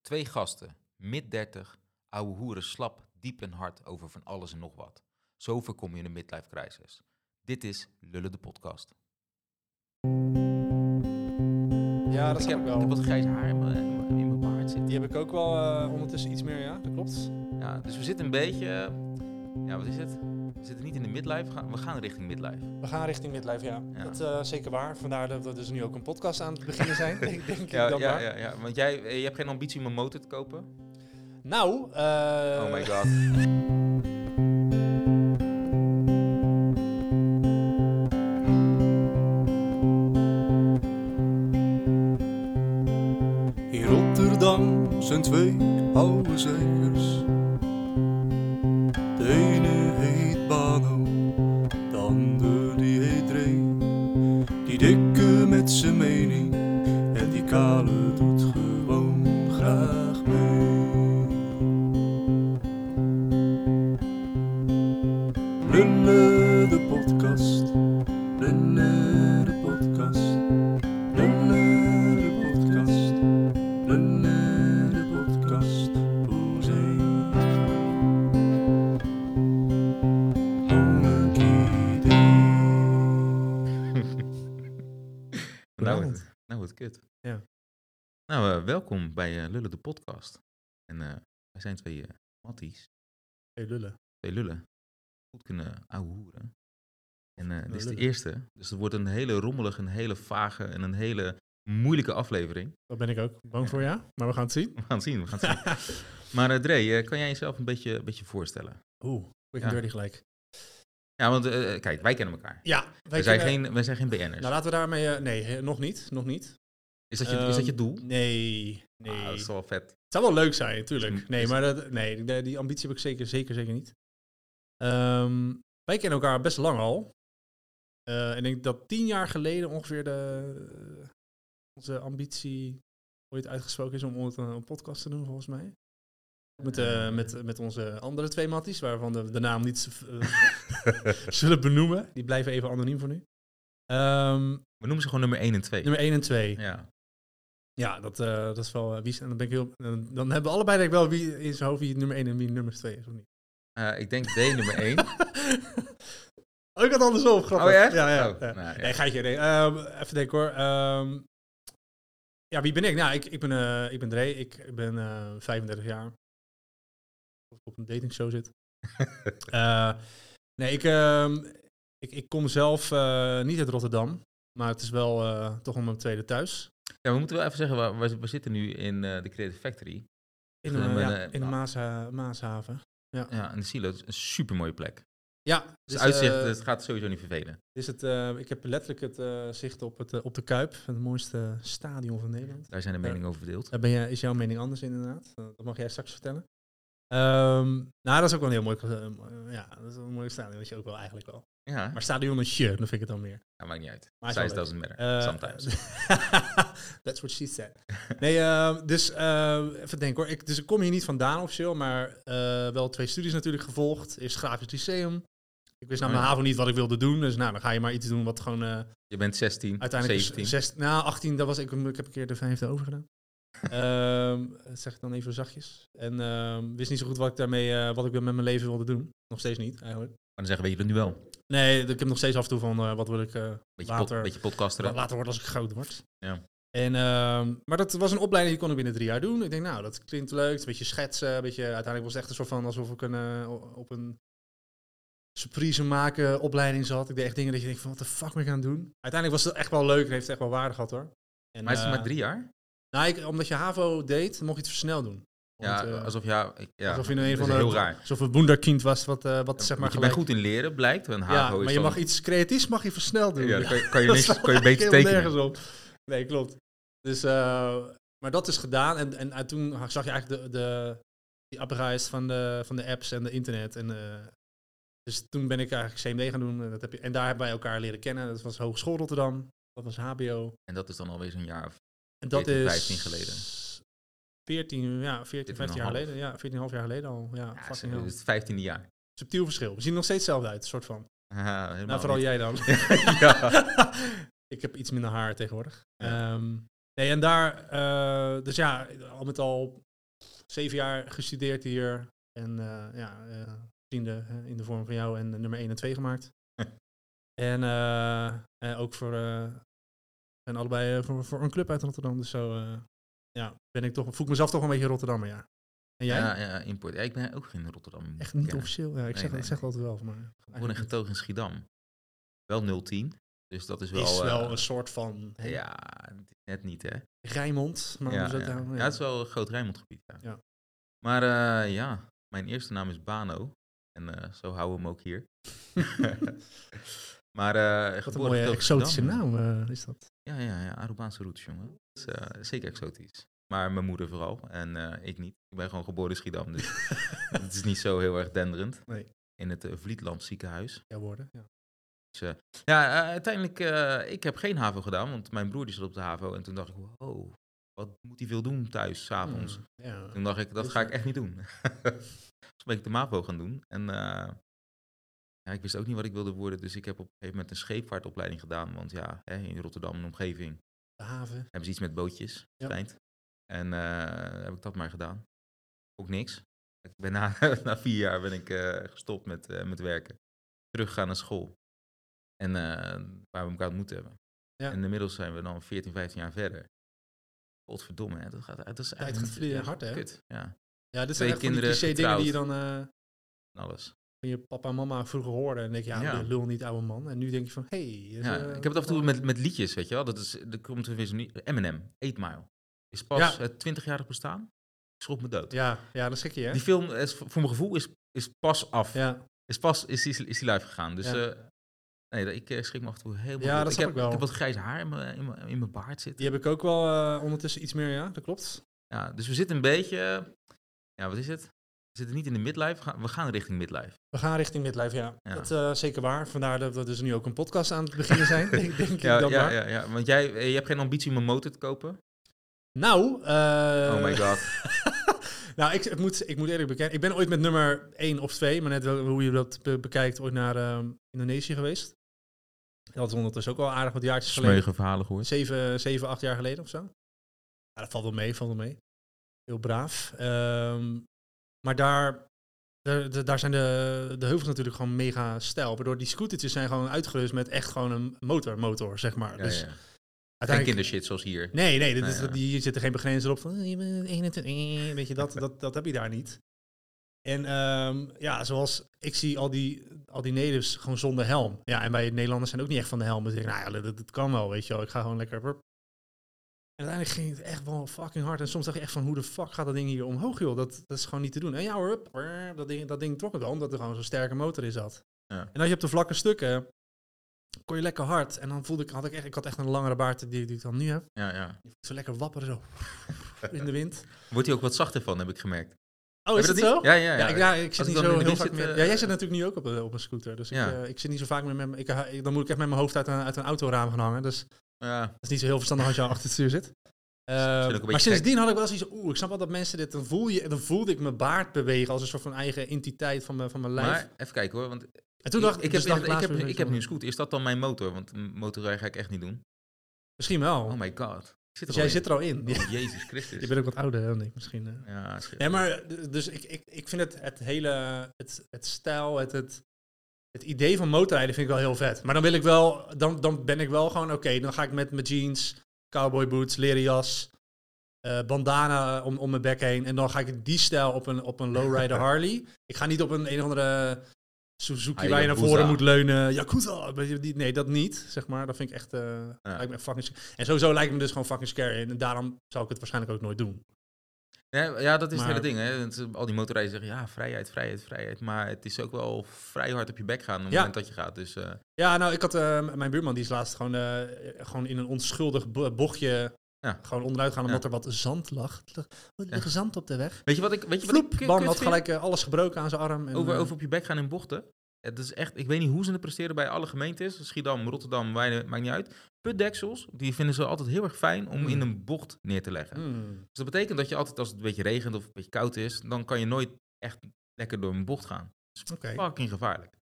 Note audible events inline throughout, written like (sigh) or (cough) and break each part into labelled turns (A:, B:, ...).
A: Twee gasten, mid 30, ouwe hoeren slap, diep en hard over van alles en nog wat. Zo voorkom je een midlife crisis. Dit is Lullen de podcast.
B: Ja, dat
A: ik, heb,
B: snap ik
A: ik heb
B: wel.
A: wat grijs haar in mijn, in mijn- in mijn baard zitten.
B: Die heb ik ook wel eh, ondertussen iets meer, ja, dat klopt.
A: Ja, dus we zitten een beetje... eh, Ja, wat is het? We zitten niet in de midlife, we gaan, we gaan richting midlife.
B: We gaan richting midlife, ja.
A: Ja.
B: Dat eh, is zeker waar. Vandaar dat we dus nu ook een podcast aan het beginnen
A: (laughs)
B: zijn. denk, denk
A: Ja,
B: ik dan
A: ja,
B: maar.
A: ja, ja, want jij eh, je hebt geen ambitie om een motor te kopen?
B: Nou, eh,
A: oh my
B: (laughs)
A: god.
C: In Rotterdam zijn twee oude zeigers. De ene heet Bano, de ander die heet Ray. Die dikke met zijn mening en die kale doet gewoon graag mee. Lullen de podcast, lullen de podcast, lullen de podcast. Lullen de podcast, hoezee. Monarchie
A: Nou,
B: Bedankt.
A: het, nou, het kut.
B: Ja.
A: Nou, eh, welkom bij eh, Lullen de podcast. En eh, wij zijn twee eh, matties,
C: Hey lullen.
A: twee lullen, goed kunnen ouwe hoeren. En eh, dit is de
C: lullen.
A: eerste, dus het wordt een hele rommelige, een hele vage en een hele moeilijke aflevering. (laughs)
C: Dat ben ik ook bang voor, ja. Maar we gaan het zien.
A: We gaan het zien, we gaan het zien.
B: (laughs)
A: maar eh Dre, eh, kan jij jezelf een beetje, een beetje voorstellen?
C: Oeh.
A: Ja.
B: Quick and dirty gelijk.
A: Ja, want eh, kijk, wij kennen elkaar.
B: Ja,
A: Wij
B: weet
A: zijn,
B: je, eh,
A: geen, wij zijn geen BN'ers.
B: Nou, laten we daarmee... eh, nee, eh, nog niet. Nog niet.
A: is, dat je, is dat je
B: Ehm,
A: doel?
B: Nee, nee.
A: Ah, dat is wel vet.
B: Het zou wel leuk zijn,
A: Is-
B: natuurlijk. Nee,
A: is-
B: maar dat, nee, de- die ambitie heb ik zeker, zeker, zeker niet. Ehm, wij kennen elkaar best lang al. Eh, en ik denk dat tien jaar geleden ongeveer de, onze ambitie ooit uitgesproken is om ooit een, een podcast te doen, volgens mij. Met, eh, met, met onze andere twee matties, waarvan de, de naam niet z- eh, (laughs) zullen benoemen. Die blijven even anoniem voor nu. Ehm,
A: We noemen ze gewoon nummer 1 en 2.
B: nummer 1 en 2.
A: Ja.
B: Ja, dat, eh, dat is wel eh, wie is- en dan ben ik heel. Dan, dan hebben we allebei denk ik wel wie in zijn hoofd wie nummer 1 en wie nummer 2 is of niet.
A: Eh, ik denk D nummer
B: (laughs)
A: 1.
B: oh, ik had andersom, grappig.
A: Oh, echt?
B: Ja, ja.
A: Oh,
B: ja.
A: nou, ja.
B: Nee, geitje. Nee. Ehm, even denken hoor. Ehm, ja, wie ben ik? Nou, ik, ik ben, eh ik ben Dre. Ik ben eh, 35 jaar. Of ik op een datingshow
A: (laughs)
B: zit. Eh, nee, ik, ehm, ik, ik kom zelf eh, niet uit Rotterdam. Maar het is wel eh, toch om mijn tweede thuis.
A: Ja, we moeten wel even zeggen, we- we, we zitten nu in eh, de Creative Factory.
B: In,
A: Ja,
B: eh,
A: maar,
B: ja,
A: eh,
B: in de
A: nou.
B: Maasha- Maashaven.
A: Ja, en de silo is een super mooie plek. Het
B: Ja, dus,
A: uitzicht,
B: eh,
A: het gaat sowieso niet vervelen.
B: dus het, eh, ik heb letterlijk het eh, zicht op, het, eh, op de Kuip, het mooiste stadion van Nederland.
A: Daar zijn de meningen over verdeeld.
B: Daar ben je, is jouw mening anders inderdaad. Eh, Dat mag jij straks vertellen. Ehm, nou, dat is ook wel een heel mooi, eh, ja, dat is wel een mooi stadion, dat je ook wel eigenlijk wel.
A: Ja,
B: Maar stadionnetje, dan vind ik het dan meer.
A: ja, maakt niet uit.
B: Maar is wel
A: Size
B: leuk.
A: doesn't matter,
B: Eh,
A: sometimes.
B: (laughs) That's what she said. Nee, eh, dus eh, even denken hoor. Ik, dus ik kom hier niet vandaan officieel, maar eh, wel twee studies natuurlijk gevolgd. Eerst grafisch lyceum. Ik wist na
A: Oh,
B: mijn
A: ja.
B: HAVO niet wat ik wilde doen. Dus nou, dan ga je maar iets doen wat gewoon eh,
A: Je bent 16,
B: uiteindelijk...
A: 17.
B: Zes, nou, 18, dat was ik. Ik heb een keer de vijfde
A: (laughs)
B: overgedaan. Ehm dat zeg ik dan even zachtjes. En ehm, wist niet zo goed wat ik daarmee, eh, wat ik met mijn leven wilde doen. Nog steeds niet, eigenlijk.
A: Maar dan zeggen we je dat nu wel.
B: Nee, ik heb nog steeds af en toe van, eh, wat wil ik eh,
A: Beetje, pod,
B: later...
A: beetje podcasteren.
B: Later wordt als ik groot word.
A: Ja.
B: En, ehm, maar dat was een opleiding die kon ik binnen drie jaar doen. Ik denk, nou, dat klinkt leuk. Een beetje schetsen. Een beetje, uiteindelijk was het echt een soort van alsof ik een, eh, op een surprise maken opleiding zat. Ik deed echt dingen dat je denkt van, wat de fuck ben ik aan het doen? Uiteindelijk was het echt wel leuk en heeft het echt wel waarde gehad hoor. En,
A: maar het is
B: eh,
A: maar drie jaar?
B: Nou, ik- omdat je HAVO deed, mocht je het versnel doen.
A: Ja,
B: Want, eh,
A: alsof, ja, ik- ja,
B: alsof je een
A: dat
B: van
A: is
B: de...
A: heel raar.
B: Alsof een wonderkind was wat, eh, wat
A: Want
B: zeg maar
A: je bent
B: gelijk...
A: goed in leren, blijkt. En
B: ja,
A: HAVO is
B: maar je
A: dan-
B: mag iets creatiefs mag je versneld doen.
A: Ja, dan kan je, kan je,
B: (laughs) Dat
A: niks-
B: slaat
A: kan je beter
B: eigenlijk
A: tekenen.
B: helemaal nergens op. Nee, klopt. Dus, eh, maar dat is gedaan. En, en, eh, toen zag je eigenlijk de, de, die apparaat van de, van de apps en de internet. En, eh, dus toen ben ik eigenlijk CMD gaan doen. En, dat heb je, en daar hebben wij elkaar leren kennen. Dat was Hogeschool Rotterdam. Dat was HBO.
A: En dat is dan alweer zo'n jaar of...
B: En dat
A: 14,
B: is...
A: 15 geleden.
B: 14, ja, 14, 15 jaar
A: 14,5.
B: geleden. Ja, 14,5 jaar geleden al. Ja,
A: Ja,
B: fucking
A: het
B: hell.
A: is het vijftiende jaar. (laughs)
B: Subtiel verschil. We zien er nog steeds hetzelfde uit, een soort van.
A: Haha, helemaal
B: Nou, vooral
A: niet.
B: jij dan.
A: (laughs) Ja.
B: ik heb iets minder haar tegenwoordig.
A: Ja.
B: Ehm, nee, en daar, eh, dus ja, al met al zeven jaar gestudeerd hier. En eh, ja, eh, vrienden eh, in de vorm van jou en nummer 1 en 2 gemaakt. en eh, eh, ook voor, eh, en allebei eh, voor, voor een club uit Rotterdam. Dus zo eh, ja, ben ik toch, voel ik mezelf toch een beetje Rotterdammer, ja. En jij?
A: Ja, ja, import. Ja, ik ben ook geen Rotterdam.
B: Echt niet
A: Ja.
B: officieel. Ja, ik
A: Nee,
B: zeg,
A: nee,
B: ik zeg
A: nee.
B: altijd wel, maar...
A: Geboren en getogen in Schiedam. Wel 010. Dus dat is wel...
B: is wel
A: eh,
B: een soort van hè,
A: Ja, net niet hè.
B: Rijnmond, maar
A: ja,
B: hoe zou
A: ja.
B: het nou-
A: Ja, het is wel een groot Rijnmondgebied. Ja.
B: Ja.
A: Maar eh, ja, mijn eerste naam is Bano. En eh, zo houden we hem ook hier. maar eh geboren
B: (laughs) Wat een
A: en
B: mooie
A: getogen
B: exotische
A: Schiedam.
B: naam eh,
A: (laughs)
B: is dat.
A: Ja, ja, ja. Arubaanse roots, jongen. Dat is eh, zeker exotisch. Maar mijn moeder vooral. En eh, ik niet. Ik ben gewoon geboren in Schiedam.
B: (laughs)
A: Dus het is niet zo heel erg denderend.
B: Nee.
A: In het eh, Vlietland ziekenhuis.
B: Ja, woorden. Ja.
A: Dus, eh, ja, eh, uiteindelijk, eh, ik heb geen HAVO gedaan, want mijn broer die zat op de HAVO. En toen dacht ik, wow, wat moet hij veel doen thuis, s'avonds?
B: Hmm, Ja.
A: Toen dacht ik, dat
B: Heel
A: ga ik
B: slim.
A: echt niet doen. (laughs) Toen ben ik de MAVO gaan doen. En eh, ja, ik wist ook niet wat ik wilde worden, dus ik heb op een gegeven moment een scheepvaartopleiding gedaan. Want ja, hè, in Rotterdam en omgeving
B: De haven.
A: hebben ze iets met bootjes,
B: Ja.
A: schijnt. En eh, heb ik dat maar gedaan. Ook niks. Ik ben na, (laughs) na vier jaar ben ik eh, gestopt met, eh, met werken. Teruggegaan naar school. En eh, waar we elkaar ontmoet hebben.
B: Ja.
A: En inmiddels zijn we dan 14, 15 jaar verder. Godverdomme, hè, dat, gaat, dat is
B: Tijd
A: eigenlijk
B: gaat vliegen
A: ja,
B: hard, hè?
A: Kut, ja,
B: Ja,
A: Twee
B: dit zijn echt van die
A: kinderen
B: cliché dingen die je dan eh,
A: en alles.
B: van je papa en mama vroeger hoorde. En denk je, ja,
A: Ja.
B: lul niet, oude man. En nu denk je van, eh, hé.
A: Ja, ik heb het af en toe met, met liedjes, weet je wel. Dat is, er komt er weer niet. Eminem, 8 Mile. Is pas eh,
B: Ja.
A: het 20-jarig bestaan. Ik schrok me dood.
B: Ja, ja, dat schrik je, hè?
A: Die film, eh, is, voor mijn gevoel, is, is pas af.
B: Ja,
A: Is pas is, is, is die live gegaan. Dus
B: Ja.
A: eh, nee, dat- ik eh, schrik me af en toe helemaal.
B: Ja,
A: dood. ik
B: dat snap
A: heb,
B: ik wel.
A: heb wat grijs haar in mijn, in mijn, in mijn baard zitten.
B: die heb ik ook wel eh, ondertussen iets meer, ja. Dat klopt.
A: Ja, dus we zitten een beetje... eh, Ja, wat is het? We zitten niet in de midlife. we gaan- We gaan richting midlife.
B: We gaan richting midlife, ja.
A: Ja.
B: Dat eh, zeker waar. Vandaar dat we dus nu ook een podcast aan het beginnen
A: (laughs)
B: zijn. denk denk
A: Ja,
B: ik dan
A: ja,
B: maar.
A: ja, ja, want jij eh, je hebt geen ambitie om een motor te kopen.
B: Nou, eh,
A: oh my god.
B: nou ik, het moet, ik moet eerlijk bekennen, ik ben ooit met nummer 1 of 2, maar net wel hoe je dat be- bekijkt, ooit naar ehm, Indonesië geweest. Dat is ondertussen ook wel aardig wat jaartjes geleden.
A: Smeuïge verhalen gehoord.
B: Zeven, zeven, acht jaar geleden of zo. Ja, dat valt wel mee, valt wel mee. Heel braaf. Ehm, maar daar, daar, daar- daar zijn de, de heuvels natuurlijk gewoon mega stijl. Waardoor die scootertjes zijn gewoon uitgerust met echt gewoon een motor, motor zeg maar.
A: Ja,
B: dus
A: ja. Geen
B: uiteindelijk
A: kindershit zoals hier.
B: Nee, nee, dit
A: Nou
B: is,
A: ja.
B: die- hier zitten geen begrenzingen op van eh, je bent 21, eh, weet je,
A: (laughs)
B: dat, dat, dat heb je daar niet. En ehm, ja, zoals ik zie al die, al die natives gewoon zonder helm. Ja, en wij Nederlanders zijn ook niet echt van de helm. Dus ik denk, nou ja, dat, dat kan wel, weet je wel. Ik ga gewoon lekker... wup. En uiteindelijk ging het echt wel fucking hard. En soms dacht ik echt van, hoe de fuck gaat dat ding hier omhoog, joh? Dat, dat is gewoon niet te doen. En ja hoor, wup, wup, dat ding, dat ding trok het wel, omdat er gewoon zo'n sterke motor in zat.
A: Ja.
B: En als je op de vlakke stukken, kon je lekker hard. En dan voelde ik, had ik echt, ik had echt een langere baard die, die ik dan nu heb.
A: Ja, ja.
B: Zo lekker wapperen zo. (laughs) In de wind.
A: Wordt hij ook wat zachter van, heb ik gemerkt.
B: Oh,
A: Heb
B: is
A: je
B: dat
A: dat
B: zo?
A: niet? Ja, ja, ja.
B: Ja, ik, ja, ik
A: ik
B: zit niet
A: dan in
B: zo
A: de
B: heel
A: wind
B: vaak
A: zit,
B: meer...
A: eh,
B: Ja, jij zit natuurlijk nu ook op, een- op een scooter. Dus
A: Ja.
B: ik, eh, ik zit niet zo vaak meer met... mijn- Ik, ha- ik- dan moet ik echt met mijn hoofd uit een, uit een autoraam gaan hangen. Dus dat
A: Ja,
B: is niet zo heel verstandig als je (laughs) achter het stuur zit. Eh,
A: ook een beetje
B: maar sindsdien had ik wel zoiets van, oeh, ik snap wel dat mensen dit... Dan, voel je, dan voelde ik mijn baard bewegen als een soort van eigen entiteit van mijn, van mijn lijf.
A: maar even kijken hoor, want
B: en toen
A: ik,
B: dacht
A: ik,
B: dus
A: heb,
B: dacht
A: ik, heb,
B: laatst weer
A: ik heb nu een
B: zoiets van,
A: scooter. Is dat dan mijn motor? Want een motorrij ga ik echt niet doen.
B: Misschien wel.
A: Oh my god. Ik zit er al
B: dus jij
A: in.
B: zit er al in.
A: (laughs)
B: Ja. (laughs)
A: Oh, Jezus Christus.
B: Je bent ook wat ouder dan ik misschien. eh.
A: Ja, shit.
B: Nee, maar d- dus ik, ik, ik vind het, het hele het, het stijl, het, het, het idee van motorrijden vind ik wel heel vet. Maar dan wil ik wel, dan, dan ben ik wel gewoon oké, dan ga ik met mijn jeans, cowboy boots, leren jas, eh, bandana om, om mijn bek heen. En dan ga ik die stijl op een, op een lowrider Harley. Ik ga niet op een een of andere Suzuki waar je naar
A: Hayabusa.
B: voren moet leunen. Yakuza. weet je, die- Nee, dat niet, zeg maar. Dat vind ik echt, eh, lijkt me echt fucking sc- En sowieso lijkt me dus gewoon fucking scary. En daarom zou ik het waarschijnlijk ook nooit doen.
A: Ja, ja, dat is het
B: maar-
A: hele ding. Hè. Want Al die motorrijders zeggen, ja, vrijheid, vrijheid, vrijheid. Maar het is ook wel vrij hard op je bek gaan op het
B: Ja.
A: moment dat je gaat. Dus eh,
B: Ja, nou, ik had eh, mijn buurman, die is laatst gewoon, eh, gewoon in een onschuldig bo- bochtje
A: Ja.
B: gewoon onderuit gaan, omdat er wat zand lag. Er ligt
A: Ja.
B: zand op de weg.
A: weet je wat ik, weet je Dus wat ik
B: Vloep,
A: kut-
B: man
A: kut
B: had
A: vind?
B: gelijk eh, alles gebroken aan zijn arm. En,
A: Over,
B: eh,
A: over op je bek gaan in bochten. Het is echt, ik weet niet hoe ze het presteren bij alle gemeentes. Schiedam, Rotterdam, Weiden, maakt niet uit. Putdeksels, die vinden ze altijd heel erg fijn om
B: Mm.
A: in een bocht neer te leggen.
B: hmm.
A: Dus dat betekent dat je altijd, als het een beetje regent of een beetje koud is, dan kan je nooit echt lekker door een bocht gaan.
B: Oké. Nou,
A: Fucking gevaarlijk.
B: is
A: Want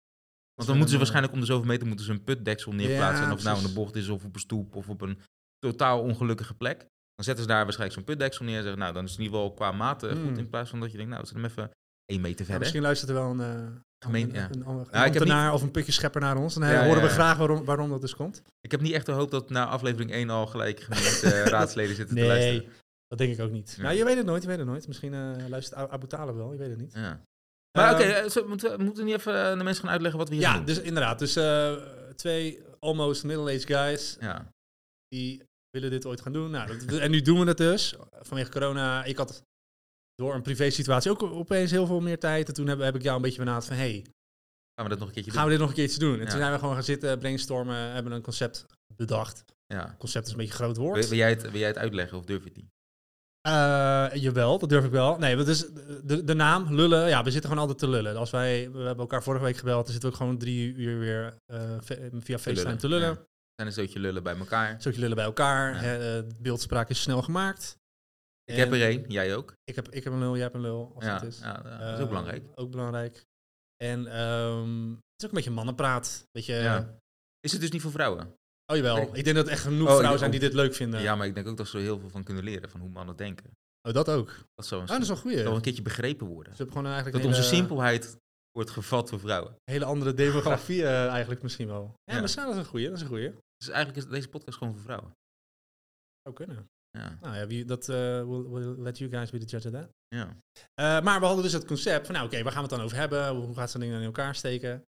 B: wel
A: dan moeten
B: een, eh,
A: ze waarschijnlijk om de zoveel meter moeten ze een putdeksel neerplaatsen.
B: Ja,
A: en of het nou in de
B: precies.
A: bocht is of op een stoep of op een totaal ongelukkige plek. Dan zetten ze daar waarschijnlijk zo'n putdeksel neer en zeggen, nou, dan is het in ieder geval qua maat eh, goed.
B: Hmm.
A: In plaats van dat je denkt, nou, zet hem even één meter
B: Ja,
A: verder.
B: misschien luistert er wel een, eh
A: Gemeen,
B: een,
A: ja.
B: een, ander- een
A: Nou, ik heb
B: ambtenaar of een putje schepper naar ons. Dan eh,
A: Ja, ja,
B: horen we
A: ja.
B: graag waarom, waarom dat dus komt.
A: Ik heb niet echt de hoop dat na aflevering 1 al gelijk
B: (laughs)
A: gemeente eh, raadsleden zitten te luisteren.
B: Nee, dat denk ik ook niet.
A: Ja.
B: Nou, je weet het nooit, je weet het nooit. Misschien eh, luistert Ab- Abu Talib wel, je weet het niet.
A: Ja. Maar
B: Eh,
A: oké, eh, zo- moeten we moeten we niet even eh, de mensen gaan uitleggen wat we hier
B: Ja,
A: doen?
B: dus inderdaad. Dus eh, twee almost middle-aged guys
A: ja.
B: die willen dit ooit gaan doen. Nou, dat- en nu doen we het dus. Vanwege corona, ik had door een privé situatie ook opeens heel veel meer tijd. En toen heb, heb ik jou een beetje benaderd van, hey,
A: Gaan we dat nog een keertje
B: gaan we dit nog een keertje doen? En
A: Ja.
B: toen zijn we gewoon gaan zitten, brainstormen, hebben een concept bedacht.
A: doen? Ja.
B: Concept is een beetje een groot
A: Wil,
B: woord.
A: wil jij het, wil jij het uitleggen of durf je het niet?
B: Eh, jawel, dat durf ik wel. Nee, want dus de, de naam, lullen, ja, we zitten gewoon altijd te lullen. Als wij, we hebben elkaar vorige week gebeld, dan zitten we ook gewoon drie uur weer eh, ve- via FaceTime te lullen.
A: Ja. Zijn een zootje lullen bij elkaar.
B: Zodat je lullen bij elkaar.
A: Ja.
B: hè, eh, de beeldspraak is snel gemaakt.
A: Ik
B: En
A: heb er één, jij ook.
B: Ik heb, ik heb een lul, jij hebt een lul. Als
A: Ja,
B: het is.
A: ja, dat is
B: Eh,
A: ook belangrijk.
B: Ook belangrijk. En ehm, het is ook een beetje mannenpraat. Weet je,
A: Ja. Is het dus niet voor vrouwen?
B: oh jawel.
A: Nee.
B: Ik denk dat echt genoeg
A: Oh,
B: vrouwen
A: oh.
B: zijn die dit leuk vinden.
A: Ja, maar ik denk ook dat ze er heel veel van kunnen leren, van hoe mannen denken.
B: Oh, dat ook. Ah,
A: Dat zou een,
B: dat is wel een goeie.
A: wel een keertje begrepen worden.
B: Ze hebben gewoon eigenlijk
A: Dat
B: een
A: onze
B: hele,
A: simpelheid wordt gevat door vrouwen.
B: hele andere demografie eh, eigenlijk misschien wel. Ja,
A: Ja.
B: maar snel dat is een goeie. Dat is een goeie.
A: Dus eigenlijk is deze podcast gewoon voor vrouwen.
B: Zou kunnen.
A: Ja,
B: Nou ja, wie, dat eh, we'll, we'll let you guys be the judge of that.
A: ja.
B: Eh, maar we hadden dus het concept van, nou oké, waar gaan we het dan over hebben? Hoe hoe gaat zo'n ding dan in elkaar steken?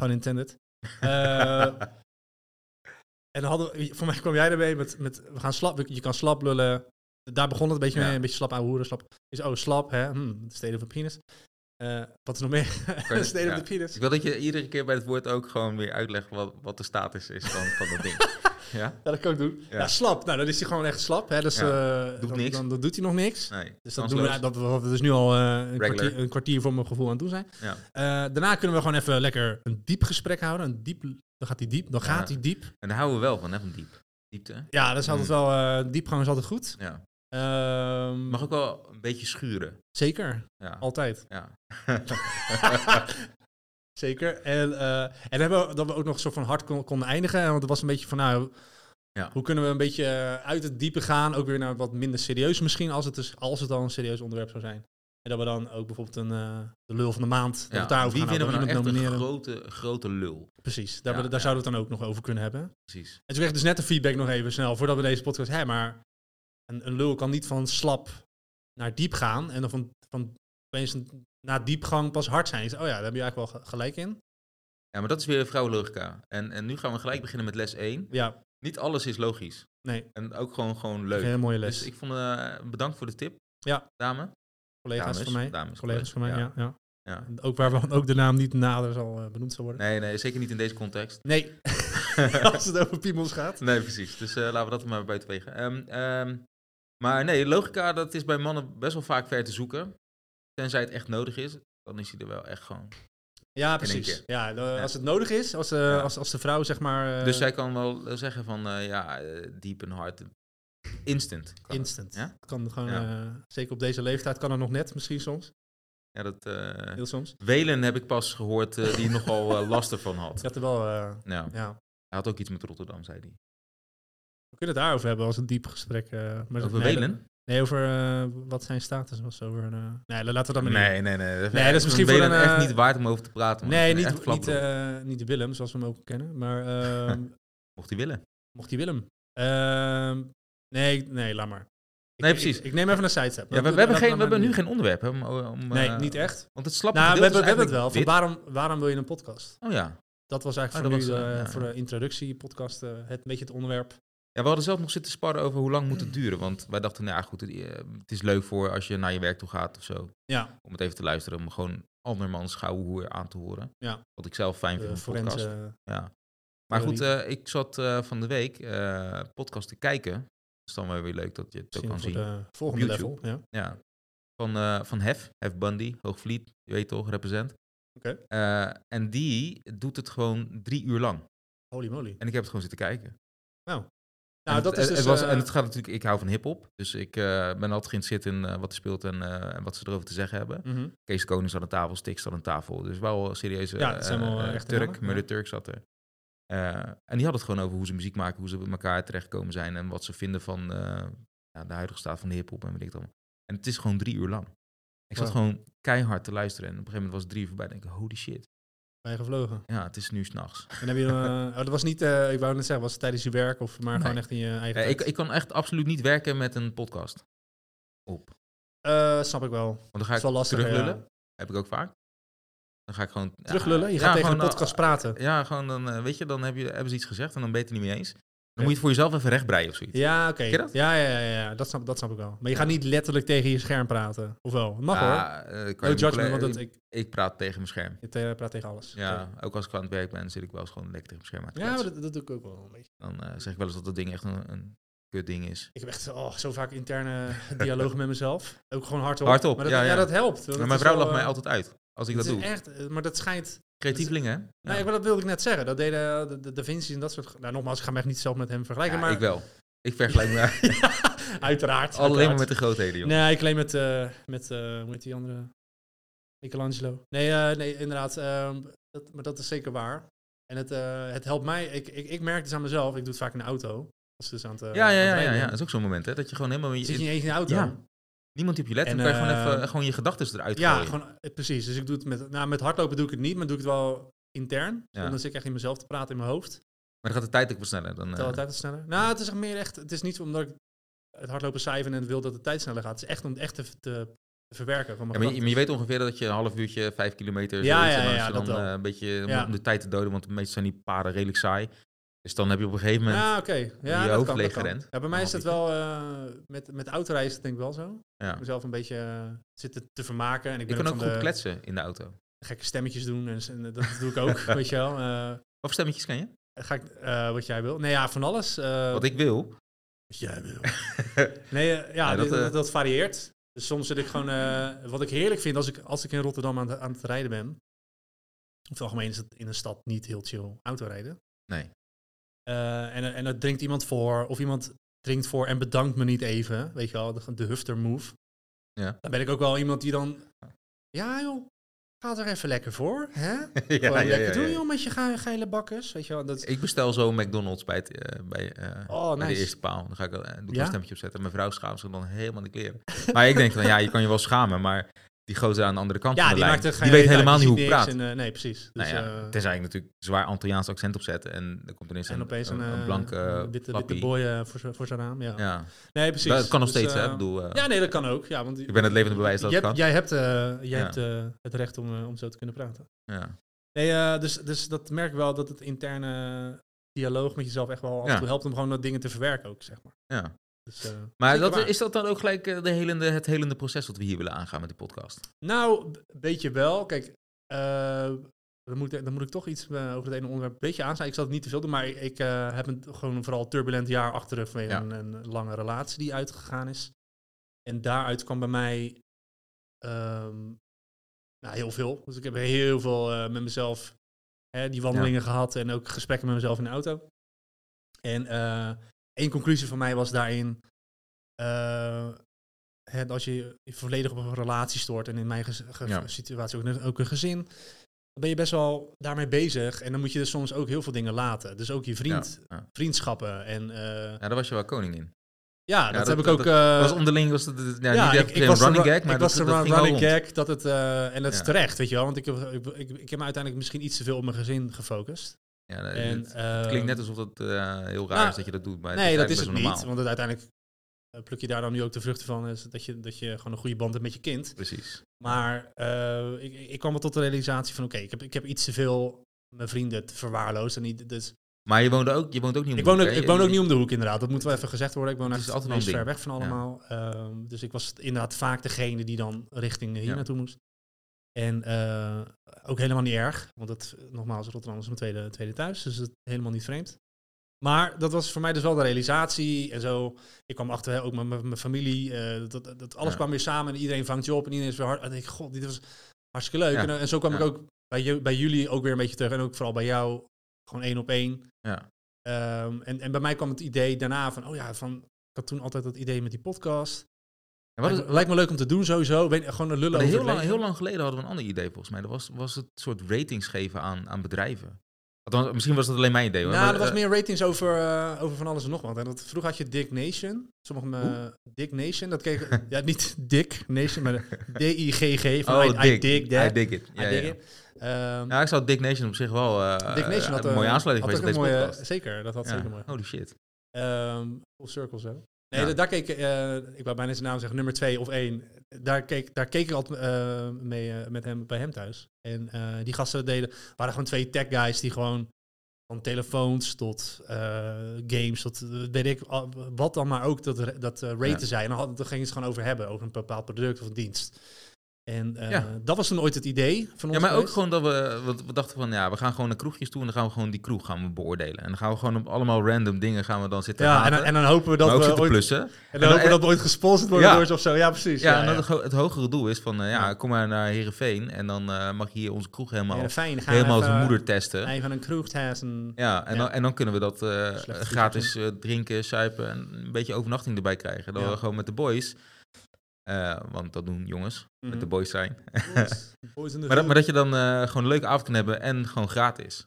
B: Pun intended. Eh, en dan hadden we, voor mij kwam jij ermee met, met we gaan slap, je kan slap lullen. Daar begon het een beetje
A: Ja.
B: mee, een beetje slap ouwe hoeren, slap. Is, oh, slap, hè? Hm, de steden van penis. Eh, wat is nog meer? (laughs)
A: Kan-
B: de steden
A: ja.
B: van de penis.
A: Dus Ik wil dat je iedere keer bij het woord ook gewoon weer uitlegt wat, wat de status is van, van dat
B: (laughs)
A: ding. Ja?
B: Ja, dat kan ik doen. Ja.
A: Ja.
B: slap. Nou, dan is hij gewoon echt slap. Hè? Dus,
A: Ja.
B: eh,
A: Doet
B: dan,
A: niks.
B: Dan, dan doet hij nog niks.
A: Nee.
B: Dus dat, doen we,
A: kansloos.
B: dat we, wat we dus nu al eh, een,
A: Regular.
B: kwartier, een kwartier voor mijn gevoel aan het doen zijn.
A: Ja.
B: Eh, daarna kunnen we gewoon even lekker een diep gesprek houden. Een diep, dan gaat hij diep, dan
A: Ja.
B: gaat hij diep.
A: En daar houden we wel van, hè, van diep. Diepte.
B: Ja, dat is altijd
A: Hmm.
B: wel, eh, diepgang is altijd goed.
A: Ja.
B: Ehm,
A: Mag ook wel een beetje schuren.
B: Zeker,
A: Ja.
B: altijd.
A: ja.
B: (laughs) Zeker. En, eh, en dan hebben we, dat we ook nog zo van hard kon- konden eindigen. Want het was een beetje van, nou,
A: Ja.
B: hoe kunnen we een beetje eh, uit het diepe gaan? Ook weer naar wat minder serieus misschien, als het, dus, als het al een serieus onderwerp zou zijn. En dat we dan ook bijvoorbeeld een, eh, de lul van de maand, dat we het
A: Ja.
B: daarover
A: Wie
B: gaan
A: vinden we
B: hebben,
A: nou
B: iemand
A: echt een
B: nomineren.
A: grote, grote lul?
B: Precies, daar,
A: Ja,
B: daar
A: ja.
B: zouden we het dan ook nog over kunnen hebben. En
A: Precies.
B: toen kreeg ik dus net een feedback nog even snel, voordat we deze podcast... Hé, maar een, een lul kan niet van slap naar diep gaan en dan van, van opeens een- na diepgang pas hard zijn. Ik zei, oh ja, daar heb je eigenlijk wel ge- gelijk in.
A: Ja, maar dat is weer vrouwenlogica. En, en nu gaan we gelijk beginnen met les 1.
B: Ja,
A: Niet alles is logisch.
B: nee,
A: En ook gewoon, gewoon
B: een
A: leuk.
B: hele mooie les.
A: Dus ik vond, eh, bedankt voor de tip,
B: Ja.
A: dame.
B: collega's
A: dames,
B: van mij.
A: dames,
B: collega's van mij, ja. ja.
A: Ja.
B: Ook waar we, ook de naam niet nader zal eh, benoemd zal worden.
A: Nee, nee, zeker niet in deze context.
B: Nee,
A: (laughs)
B: als het over piemels gaat.
A: Nee, precies. Dus eh, laten we dat maar buiten wegen. Ehm, ehm, maar nee, logica dat is bij mannen best wel vaak ver te zoeken. Tenzij het echt nodig is, dan is hij er wel echt gewoon.
B: Ja,
A: één
B: precies.
A: keer.
B: Ja, de-
A: Ja.
B: als het nodig is, als, eh,
A: Ja.
B: als, als de vrouw zeg maar... eh,
A: dus zij kan wel eh, zeggen van, eh, ja, eh, diep en hard. Instant. kan het.
B: Instant.
A: Ja?
B: Het Kan gewoon,
A: Ja.
B: eh, zeker op deze leeftijd kan het nog net, misschien soms.
A: Ja, dat, eh,
B: Heel soms.
A: Welen heb ik pas gehoord eh, die nogal eh, last ervan had.
B: Ik had er wel... eh,
A: Nou,
B: ja.
A: hij had ook iets met Rotterdam, zei hij.
B: We kunnen het daarover hebben als een diep gesprek. eh, maar
A: Over
B: nee,
A: Welen?
B: dat- Nee, over eh, wat zijn status was. Over, eh, nee, la- laten we dat maar niet
A: Nee, nee, nee.
B: Nee, dat is misschien voor
A: Welen
B: een, eh,
A: echt niet waard om over te praten.
B: doen.
A: man.
B: Nee,
A: Ik vind het
B: niet,
A: echt flap,
B: niet,
A: hoor.
B: eh, niet Willem, zoals we hem ook kennen. Maar
A: (laughs)
B: ehm,
A: Mocht hij willen.
B: mocht hij Willem. Ehm, nee, nee, laat maar. Ik-
A: Nee,
B: ik-
A: precies.
B: Ik, neem even een sidestep.
A: Ja, we, we hebben, geen, we hebben nu geen onderwerp. Hè, om, om,
B: Nee,
A: eh,
B: niet echt.
A: Want het slappe
B: Nou, we
A: gedeelte
B: hebben, we hebben
A: is
B: het wel. Van
A: eigenlijk
B: waarom, waarom wil je een podcast?
A: dit. Oh ja.
B: Dat was
A: Ah,
B: eigenlijk
A: dat
B: voor, nu,
A: was,
B: de-
A: eh, ja.
B: voor de introductie podcast eh, het beetje het onderwerp.
A: Ja, we hadden zelf nog zitten sparren over hoe lang moet het duren. Want wij dachten, nou ja, goed, het, eh, het is leuk voor als je naar je werk toe gaat of zo.
B: Ja,
A: Om het even te luisteren, om gewoon andermans gouden aan te horen.
B: Ja.
A: Wat ik zelf fijn vind
B: de
A: van een podcast.
B: forense.
A: Ja. Maar goed, eh, ik zat eh, van de week eh, podcast te kijken. Dat is dan wel weer leuk dat je het ook
B: Misschien
A: kan
B: voor
A: zien.
B: de volgende
A: YouTube.
B: level. Ja.
A: Ja. Van, eh, van Hef, Hef Bundy, Hoogvliet, je weet toch, represent.
B: Oké.
A: Eh, en die doet het gewoon drie uur lang.
B: Holy moly.
A: En ik heb het gewoon zitten kijken.
B: Nou,
A: en, het-
B: dat is
A: en-
B: dus...
A: het was,
B: eh,
A: en het gaat natuurlijk, ik hou van hip-hop. Dus ik eh, ben altijd geïnteresseerd in eh, wat er speelt en eh, en wat ze erover te zeggen hebben.
B: mhm.
A: Kees Koning zat aan tafel, Stik zat aan tafel. Dus wel een serieuze
B: Ja, dat zijn
A: eh,
B: wel, eh,
A: eh,
B: echte
A: Turk,
B: mannen,
A: Murder
B: ja.
A: Turk zat er. Eh, en die had het gewoon over hoe ze muziek maken, hoe ze met elkaar terechtkomen zijn en wat ze vinden van, eh, ja, de huidige staat van de hiphop en weet ik dan. En het is gewoon drie uur lang. Ik zat
B: Wow.
A: gewoon keihard te luisteren en op een gegeven moment was het drie uur voorbij. En ik denk, holy shit,
B: Bijgevlogen.
A: ja, het is nu s'nachts.
B: En heb je dan... eh, oh, dat was niet... eh, ik wou net zeggen, was het tijdens je werk of maar
A: Nee.
B: gewoon echt in je eigen
A: Eh,
B: tijd?
A: ik, ik kan echt absoluut niet werken met een podcast op.
B: Eh, snap ik wel.
A: Want dan ga
B: Dat is wel
A: ik
B: lastig.
A: teruglullen,
B: ja.
A: heb ik ook vaak. Dan ga ik gewoon... ja,
B: Teruglullen? Je
A: ja,
B: gaat tegen
A: gewoon,
B: de podcast praten.
A: eh, ja, gewoon dan, eh, weet je, dan heb je, hebben ze iets gezegd en dan ben je het er niet mee eens. Dan moet je het voor jezelf even rechtbreien of zoiets.
B: Ja, oké.
A: je dat?
B: Ja, ja, ja, ja. Dat, snap, dat snap ik wel. Maar je gaat niet letterlijk tegen je scherm praten. Of wel? Mag hoor.
A: Ja, eh, kan je
B: No
A: mijn
B: judgment,
A: collega-
B: want dat, ik,
A: Ik praat tegen mijn scherm.
B: ik eh, praat tegen alles.
A: Ja, ook als ik aan het werk ben, zit ik wel eens gewoon lekker tegen mijn scherm aan te
B: Ja, maar
A: kletsen.
B: dat, dat doe ik ook wel een beetje.
A: Dan eh, zeg ik wel eens dat dat ding echt een, een kut ding is.
B: Ik heb echt oh, zo vaak
A: (laughs)
B: interne dialogen met mezelf. Ook gewoon hardop.
A: Hardop,
B: maar dat,
A: ja, ja.
B: dat helpt.
A: Maar mijn vrouw lacht mij altijd uit als ik dat doe.
B: eh, Echt, eh, maar dat schijnt...
A: Creatieveling, hè? Ja.
B: Nee, maar dat wilde ik net zeggen. Dat deden eh, de, de Da Vinci's en dat soort... Nou, nogmaals, ik ga me echt niet zelf met hem vergelijken,
A: Ja,
B: maar...
A: ik
B: (laughs)
A: wel. Ik vergelijk me
B: uiteraard.
A: (laughs)
B: Alleen
A: alleen maar met de grootheden, joh.
B: Nee, ik alleen met... eh, met eh, hoe heet die andere? Michelangelo. Nee, eh, nee inderdaad. ehm, dat, maar dat is zeker waar. En het, eh, het helpt mij. Ik, ik, ik merk dus aan mezelf. Ik doe het vaak in de auto. Als ik dus aan het, eh,
A: Ja, ja,
B: aan het
A: ja, ja,
B: rijden
A: ja.
B: ben.
A: Dat is ook zo'n moment, hè? Dat je gewoon helemaal...
B: Zit je
A: Je,
B: niet eens in de auto.
A: Ja. niemand die op je let.
B: En,
A: En dan kan je gewoon
B: eh,
A: even gewoon je gedachten eruit
B: Ja,
A: gooien.
B: gewoon, eh, precies. Dus ik doe het met, nou, met hardlopen doe ik het niet, maar doe ik het wel intern.
A: Ja.
B: Dan zit ik echt in mezelf te praten in mijn hoofd.
A: Maar dan gaat de tijd ook wat sneller. Dan, eh,
B: Terwijl de tijd wat sneller. Nou, het is echt meer echt, het is niet omdat ik het hardlopen cijfer en wil dat de tijd sneller gaat. Het is echt om het echt te, te verwerken van
A: ja,
B: mijn
A: maar, je,
B: gedachten.
A: maar je weet ongeveer dat je een half uurtje, vijf kilometer...
B: Ja,
A: zoiets,
B: ja,
A: en dan is
B: ja,
A: er
B: dat
A: dan,
B: wel.
A: eh, een beetje
B: Ja.
A: om de tijd te doden, want meestal zijn die paden redelijk saai. Dus dan heb je op een gegeven moment...
B: Ja, Ah, oké. Ja,
A: je
B: dat
A: hoofd
B: kan, dat kan.
A: leeggerend.
B: Ja, bij mij is dat wel, eh, met, met autorijden is het denk ik wel zo.
A: Ja.
B: Ik mezelf een beetje eh, zitten te vermaken. En ik,
A: Ik
B: ben
A: kan ook
B: van
A: goed
B: de
A: kletsen in de auto.
B: gekke stemmetjes doen en, s- en dat doe ik
A: (laughs)
B: ook, weet je wel. Eh,
A: Of stemmetjes ken je?
B: ga ik, eh, wat jij wil. Nee, ja, van alles. eh,
A: Wat ik
B: (laughs)
A: wil.
B: Wat jij wil. nee, eh,
A: Ja,
B: ja,
A: dat,
B: dit- dat,
A: eh,
B: dat varieert. Dus soms zit ik gewoon... eh, wat ik heerlijk vind als ik, als ik in Rotterdam aan, het- aan het rijden ben... Over het algemeen is het in een stad niet heel chill autorijden.
A: Nee.
B: Oh, Eh, en, en er drinkt iemand voor. Of iemand drinkt voor en bedankt me niet even. Weet je wel, de, de hufter move.
A: Ja.
B: Dan ben ik ook wel iemand die dan... Ja joh, ga er even lekker voor. Hè?
A: (laughs) (laughs) ja,
B: Gewoon
A: ja, ja,
B: lekker doen
A: ja.
B: joh met je ge- geile bakkers. Weet je wel, dat,
A: Ik bestel zo McDonald's bij, het, eh, bij, eh,
B: Oh,
A: bij de
B: nice.
A: eerste paal. Dan ga ik wel, eh, doe ik wel
B: Ja?
A: een stemmetje opzetten. Mijn vrouw schaamt zich dan helemaal de kleren. maar ik denk dan, ja, je kan je wel schamen, maar die gozer aan de andere kant
B: ja,
A: van
B: die
A: de
B: maakt
A: lijn,
B: er geen
A: die weet
B: reet uit,
A: helemaal niet hoe
B: ziet
A: ik
B: niks
A: praat.
B: en, eh, nee, precies. Dus,
A: nou ja,
B: eh,
A: tenzij ik natuurlijk zwaar Antilliaans accent opzet en er komt ineens
B: en
A: een,
B: opeens een,
A: een,
B: eh,
A: blanke
B: een witte, witte
A: flappie.
B: boy eh, voor, zijn- voor zijn naam. Ja.
A: Ja,
B: Nee, precies.
A: dat kan nog
B: Dus,
A: steeds, hè.
B: eh,
A: Ik bedoel, eh,
B: ja, nee, dat kan ook. Ja, want
A: ik ben het levende bewijs dat
B: jij,
A: het kan.
B: jij hebt, eh, jij
A: Ja.
B: hebt eh, het recht om, eh, om zo te kunnen praten.
A: Ja.
B: Nee, eh, dus, dus dat merk ik wel dat het interne dialoog met jezelf echt wel af en
A: Ja.
B: toe helpt om gewoon dat dingen te verwerken ook, zeg maar.
A: ja.
B: Dus, eh,
A: Maar
B: zeker
A: dat,
B: waar.
A: is dat dan ook gelijk eh, de helende, het helende proces wat we hier willen aangaan met die podcast?
B: Nou, b- een beetje wel. Kijk, eh, dan, moet, dan moet ik toch iets eh, over het ene onderwerp een beetje aansnijden. Ik zal het niet te veel doen, maar ik, ik, eh, heb een, gewoon vooral een turbulent jaar achter de rug vanwege
A: Ja.
B: een, een lange relatie die uitgegaan is. En daaruit kwam bij mij ehm, nou, heel veel. Dus ik heb heel veel eh, met mezelf hè, die wandelingen gehad en ook gesprekken met mezelf in de auto. En eh, één conclusie van mij was daarin... eh, hè, als je je volledig op een relatie stoort en in mijn gez- ge-
A: Ja.
B: situatie ook, een- ook een gezin, dan ben je best wel daarmee bezig. En dan moet je dus soms ook heel veel dingen laten. Dus ook je vriend,
A: Ja, ja.
B: vriendschappen. En eh,
A: ja, daar was je wel koning in.
B: ja, dat,
A: dat-
B: heb ik
A: dat-
B: ook.
A: Dat
B: eh,
A: was onderling was het, ja,
B: ja,
A: niet
B: ik,
A: echt
B: ik
A: een
B: was
A: running
B: de, ru-
A: gag, maar
B: ik
A: dat,
B: was de
A: dat
B: run-
A: ging wel
B: running
A: rond.
B: gag dat het eh, en dat
A: Ja.
B: is terecht, weet je wel, want ik heb, ik, ik, ik heb me uiteindelijk misschien iets te veel op mijn gezin gefocust.
A: Ja, dat-
B: en,
A: het, het klinkt net
B: ehm,
A: alsof dat eh, heel raar
B: nou,
A: is dat je dat doet, maar
B: nee, dat is
A: eigenlijk
B: het
A: best wel
B: niet, want het uiteindelijk eh, pluk je daar dan nu ook de vruchten van, is dat je dat je gewoon een goede band hebt met je kind.
A: Precies.
B: Maar eh, ik, ik ik kwam wel tot de realisatie van oké, ik, heb, ik heb iets te veel mijn vrienden te verwaarloosd. En niet, dus
A: Maar je woonde ook, je woont ook niet om
B: ik,
A: de
B: woon ook,
A: hoek, hè?
B: ik woon ook
A: Je-
B: niet om de hoek inderdaad, dat moet wel even gezegd worden. Ik woon
A: Het
B: echt
A: is altijd wel
B: meest
A: een
B: ver
A: ding.
B: weg van allemaal. Ehm, dus ik was inderdaad vaak degene die dan richting eh, hier
A: Ja.
B: naartoe moest. En eh, ook helemaal niet erg, want dat, eh, nogmaals, Rotterdam is mijn tweede, tweede thuis, dus het helemaal niet vreemd. Maar dat was voor mij dus wel de realisatie en zo. Ik kwam achter, hè, ook met mijn mijn familie, eh, dat, dat, dat alles
A: Ja.
B: kwam weer samen en iedereen vangt je op en iedereen is weer hard. En ik, god, dit was hartstikke leuk.
A: Ja.
B: En, eh, en zo kwam
A: Ja.
B: ik ook bij, ju- bij jullie ook weer een beetje terug en ook vooral bij jou, gewoon één op één.
A: Ja.
B: Ehm, en, en bij mij kwam het idee daarna van, oh ja, van, ik had toen altijd dat idee met die podcast.
A: En wat is-
B: lijkt, me- lijkt me leuk om te doen sowieso. Weet, gewoon een lullen
A: maar
B: over
A: heel,
B: het
A: lang,
B: leven.
A: heel lang geleden hadden we een ander idee volgens mij. Dat was, was het soort ratings geven aan, aan bedrijven. Althans, misschien was dat alleen mijn idee hoor.
B: Nou,
A: maar,
B: er
A: (laughs)
B: was
A: eh,
B: meer ratings over, eh, over van alles en nog wat. En dat, vroeger had je Dick Nation. Sommige me Dick Nation,
A: (laughs)
B: dat keek... ja, niet Dick Nation, maar D-I-G-G. Van
A: oh,
B: I,
A: Dick.
B: I dig that.
A: I dig it.
B: I
A: Ja,
B: dig
A: ja.
B: it. Ehm,
A: Ja, ik zou Dick Nation op zich wel eh,
B: Dick Nation had
A: een mooie aansluiting
B: had
A: geweest op
B: ook
A: deze
B: een mooie,
A: podcast.
B: Zeker, dat had
A: Ja.
B: zeker mooi.
A: Holy shit.
B: Ehm full circle zo. Nee,
A: Ja.
B: da- daar keek, eh, ik wou bijna zijn naam zeggen, nummer twee of één. Daar keek, daar keek ik altijd eh, mee eh, met hem, bij hem thuis. En eh, die gasten deden, waren gewoon twee tech guys die gewoon van telefoons tot eh, games, tot eh, weet ik al- wat dan maar ook, dat, ra- dat eh, raten
A: Ja.
B: zijn. Dan, hadden- dan gingen ze het gewoon over hebben, over een bepaald product of dienst. En eh,
A: Ja.
B: dat was toen ooit het idee van ons.
A: Ja, maar ook
B: geweest.
A: gewoon dat we, want we dachten van ja, we gaan gewoon naar kroegjes toe en dan gaan we gewoon die kroeg gaan we beoordelen. En dan gaan we gewoon op allemaal random dingen gaan we dan zitten
B: Ja, en,
A: haten,
B: dan- en dan hopen we dat
A: maar ook
B: we
A: zitten
B: ooit,
A: plussen.
B: en dan hopen we
A: en-
B: dat we ooit gesponsord worden
A: Ja.
B: door ze of zo. Ja, precies.
A: Ja, en
B: ja,
A: dat het, ho- het hogere doel is van, eh, ja,
B: Ja.
A: kom maar naar Heerenveen en dan eh, mag je hier onze kroeg helemaal,
B: fijn.
A: helemaal zijn moeder testen.
B: Even een kroegtassen.
A: Ja, en,
B: Ja.
A: Dan, en dan kunnen we dat eh,
B: Slechte
A: gratis eh, drinken, suipen en een beetje overnachting erbij krijgen. Dan
B: Ja.
A: we gewoon met de boys, eh, want dat doen jongens,
B: Mm.
A: met
B: Mhm.
A: de boys zijn. (laughs) Maar dat, maar dat je dan eh, gewoon een leuke avond kan hebben en gewoon gratis.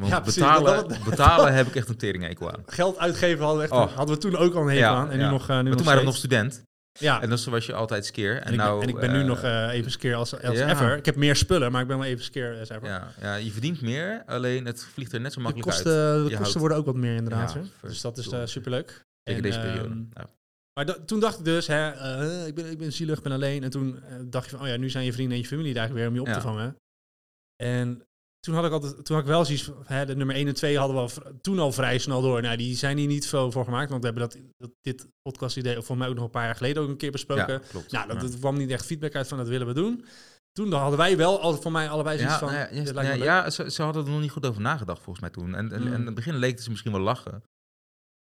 A: Want
B: Ja, precies,
A: betalen,
B: dat- dat-
A: betalen heb ik echt een tering
B: (laughs)
A: aan.
B: Geld uitgeven hadden we, echt,
A: Oh.
B: hadden we toen ook al een hekel
A: Ja,
B: aan. En
A: ja.
B: nu nog, eh, nu
A: Maar
B: nog
A: toen waren we nog
B: steeds.
A: student.
B: Ja, en,
A: En dus was je altijd skeer. En,
B: ik, ben-
A: nou,
B: en ik ben nu
A: eh,
B: nog eh, even skeer als, als
A: ja.
B: ever. Ik heb meer spullen, maar ik ben wel even skeer als ever.
A: ja, ja, je verdient meer, alleen het vliegt er net zo
B: de
A: makkelijk
B: kosten,
A: uit.
B: de
A: Je
B: kosten
A: houdt-
B: worden ook wat meer inderdaad.
A: Ja,
B: hè. dus dat is eh
A: verdorie.
B: superleuk.
A: Zeker
B: En,
A: deze periode.
B: ehm,
A: Ja.
B: Maar da- toen dacht ik dus, hè, eh, ik, ben, ik ben zielig, ik ben alleen. En toen eh, dacht je van, oh ja, nu zijn je vrienden en je familie daar weer om je op
A: Ja.
B: te vangen. En toen had ik altijd, toen had ik wel zoiets van, hè, de nummer 1 en 2 hadden we al v- toen al vrij snel door. Nou, die zijn hier niet veel voor gemaakt, want we hebben dat, dat dit podcast idee volgens mij ook nog een paar jaar geleden ook een keer besproken.
A: Ja, klopt.
B: Nou, dat,
A: Ja.
B: dat kwam niet echt feedback uit van, dat willen we doen. Toen dan hadden wij wel al van mij allebei zoiets
A: Ja,
B: van,
A: nou ja, yes, nou
B: dit lijkt
A: ja,
B: me leuk.
A: ja, ze, ze hadden er nog niet goed over nagedacht volgens mij toen. En, en,
B: Mm.
A: en in het begin leek het ze misschien wel lachen.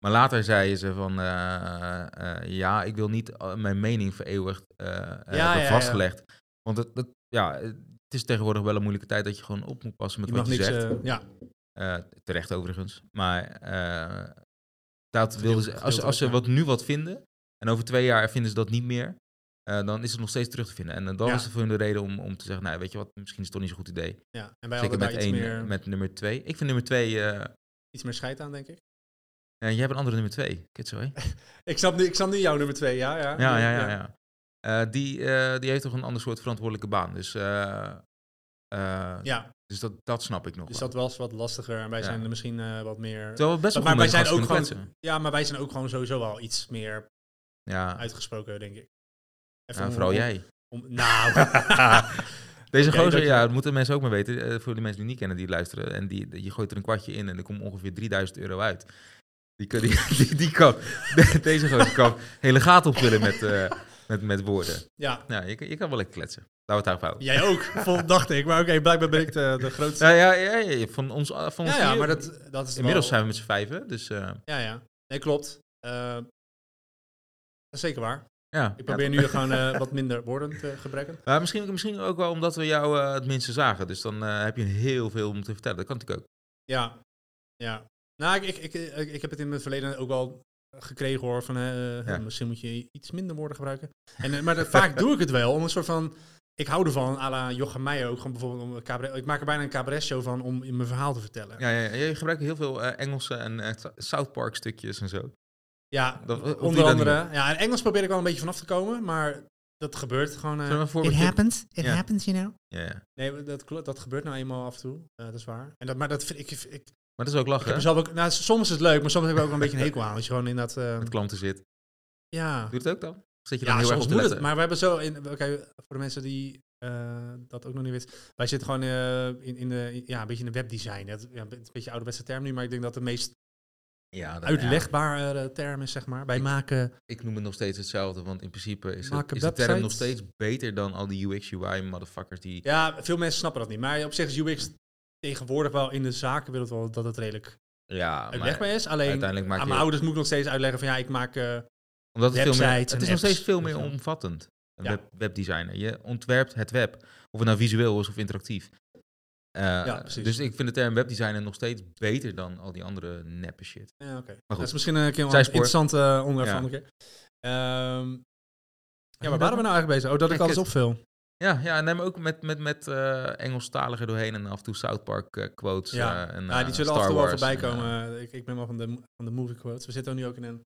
A: Maar later zeiden ze van, eh, eh, ja, ik wil niet eh, mijn mening vereeuwigd eh, eh,
B: ja,
A: hebben
B: ja.
A: vastgelegd. Want het, het- ja, het is tegenwoordig wel een moeilijke tijd dat je gewoon op moet passen met
B: je
A: wat
B: mag
A: je
B: niks,
A: zegt.
B: eh, ja,
A: Eh, terecht overigens. Maar eh, dat wilden ze, als,
B: gedeeltelijk,
A: als ze
B: ja.
A: wat nu wat vinden, en over twee jaar vinden ze dat niet meer, eh, dan is het nog steeds terug te vinden. En eh, dan
B: Ja.
A: is het voor hun de reden om, om te zeggen, nou weet je wat, misschien is het toch niet zo'n goed idee.
B: ja, en wij
A: Zeker
B: hadden
A: met,
B: daar iets
A: één,
B: meer,
A: met nummer twee. Ik vind nummer twee... eh eh,
B: iets meer scheid aan, denk ik.
A: jij hebt een andere nummer twee, Kitsoy.
B: Ik snap nu, ik snap nu jouw nummer 2, ja, ja.
A: Ja, ja, ja. ja. Eh, die, eh, die heeft toch een ander soort verantwoordelijke baan. Dus, eh, eh,
B: Ja,
A: dus dat, dat snap ik nog
B: Dus
A: wel.
B: dat was wat lastiger en wij
A: Ja.
B: zijn er misschien eh, wat meer...
A: Terwijl we best wel
B: Maar
A: goed
B: wij
A: met
B: zijn
A: gasten
B: ook
A: kunnen
B: gewoon-
A: kletsen.
B: Ja, maar wij zijn ook gewoon sowieso wel iets meer
A: Ja,
B: uitgesproken, denk ik. Even
A: ja,
B: om-
A: vooral
B: om-
A: jij.
B: om-
A: (laughs)
B: nou,
A: Deze gozer,
B: Oké, dankjewel.
A: ja, dat moeten mensen ook maar weten. eh, voor de mensen die niet kennen, die luisteren. En die, die- je gooit er een kwartje in en er komt ongeveer 3000 euro uit. Die, kun- die, (laughs) die, die kan, de- deze gozer kan hele gaten opvullen met, eh, met, met woorden.
B: ja,
A: Nou, je, kan- je kan wel lekker kletsen. Laten we het daarop houden.
B: jij ook, vol, dacht ik. Maar oké, blijkbaar ben ik de, de grootste.
A: Ja, ja, ja, ja, ja, van ons, eh, van ons
B: Ja, ja,
A: vier-
B: maar dat, dat is
A: Inmiddels
B: wel-
A: zijn we met z'n vijven, dus eh,
B: Ja, ja. Nee, klopt. Eh, dat is zeker waar.
A: ja.
B: Ik probeer nu gewoon eh, wat minder woorden te gebruiken.
A: Maar misschien, misschien ook wel omdat we jou eh, het minste zagen. Dus dan eh, heb je heel veel om te vertellen. Dat kan natuurlijk ook.
B: Ja, ja. Nou, ik, ik, ik, ik heb het in het verleden ook wel gekregen hoor, van eh,
A: Ja.
B: misschien moet je iets minder woorden gebruiken. En, eh, maar dat- vaak doe ik het wel, om een soort van, ik hou ervan, à la Jochem Meijer ook, gewoon bijvoorbeeld om een cabaret, ik maak er bijna een cabaret show van om in mijn verhaal te vertellen. Ja,
A: Ja, ja, ja, je gebruikt heel veel eh, Engelse en eh, South Park stukjes en
B: Eh,
A: zo. Dat- op die
B: onder
A: dan
B: andere. Ja, in Engels probeer ik wel een beetje vanaf te komen, maar dat gebeurt gewoon. eh,
A: Zullen we een voorbeeld geven?
B: happens, it
A: Ja.
B: happens, you know.
A: Ja, ja.
B: Nee, maar dat, klopt, dat gebeurt nou eenmaal af en toe, eh, dat is waar. En dat, maar dat vind ik, ik, ik
A: Maar dat is ook
B: heb
A: lachen, hè?
B: mezelf ook, nou, soms is het leuk, maar soms heb ik ook
A: (laughs)
B: een beetje een hekel aan, als je gewoon in dat... eh,
A: Met klanten zit.
B: ja.
A: Doe het ook dan? Of Zit je dan
B: Ja,
A: heel erg
B: soms
A: op te
B: moet
A: letten?
B: het. Maar we hebben zo... In, Oké, voor de mensen die eh, dat ook nog niet weten. Wij zitten gewoon eh, in, in de, ja, een beetje in de webdesign. Dat, ja, het is een beetje een ouderwetse term nu, maar ik denk dat de meest
A: ja, dat- ja,
B: uitlegbare term is, zeg maar. Wij maken...
A: ik noem het nog steeds hetzelfde, want in principe is,
B: Maak
A: het,
B: een
A: is de term
B: website.
A: nog steeds beter dan al die UX-UI-motherfuckers die...
B: Ja, veel mensen snappen dat niet. Maar op zich is UX tegenwoordig wel in de zakenwereld wel dat het redelijk
A: Ja, maar
B: uitlegbaar is. Alleen Ah,
A: uiteindelijk maak
B: aan
A: je...
B: mijn ouders moet ik nog steeds uitleggen van ja, ik maak... eh,
A: Omdat het, veel meer, het is
B: Websites en
A: nog
B: apps,
A: steeds veel
B: weet
A: meer
B: je wel.
A: omvattend. Een
B: Ja.
A: web, webdesigner. Je ontwerpt het web. Of het nou visueel is of interactief. Eh,
B: Ja, precies.
A: dus ik vind de term webdesigner nog steeds beter dan al die andere neppe shit.
B: Ja, oké.
A: goed.
B: Dat is misschien een keer een
A: Zijspoor.
B: interessant eh, onderwerp
A: Ja.
B: van een keer. Ehm, ja,
A: je
B: waar waren we nou eigenlijk bezig? Oh, dat ik
A: Ja,
B: alles
A: kut.
B: opvul.
A: Ja, ja en neem ook met, met, met eh Engelstaligen doorheen en af en toe South Park eh, quotes.
B: Ja.
A: eh, en,
B: ja,
A: eh,
B: Ah, die zullen
A: Star
B: af en toe wel
A: Wars
B: voorbij
A: en, eh,
B: komen. Eh, ik, ik ben wel van de, van de movie quotes. We zitten nu ook in een,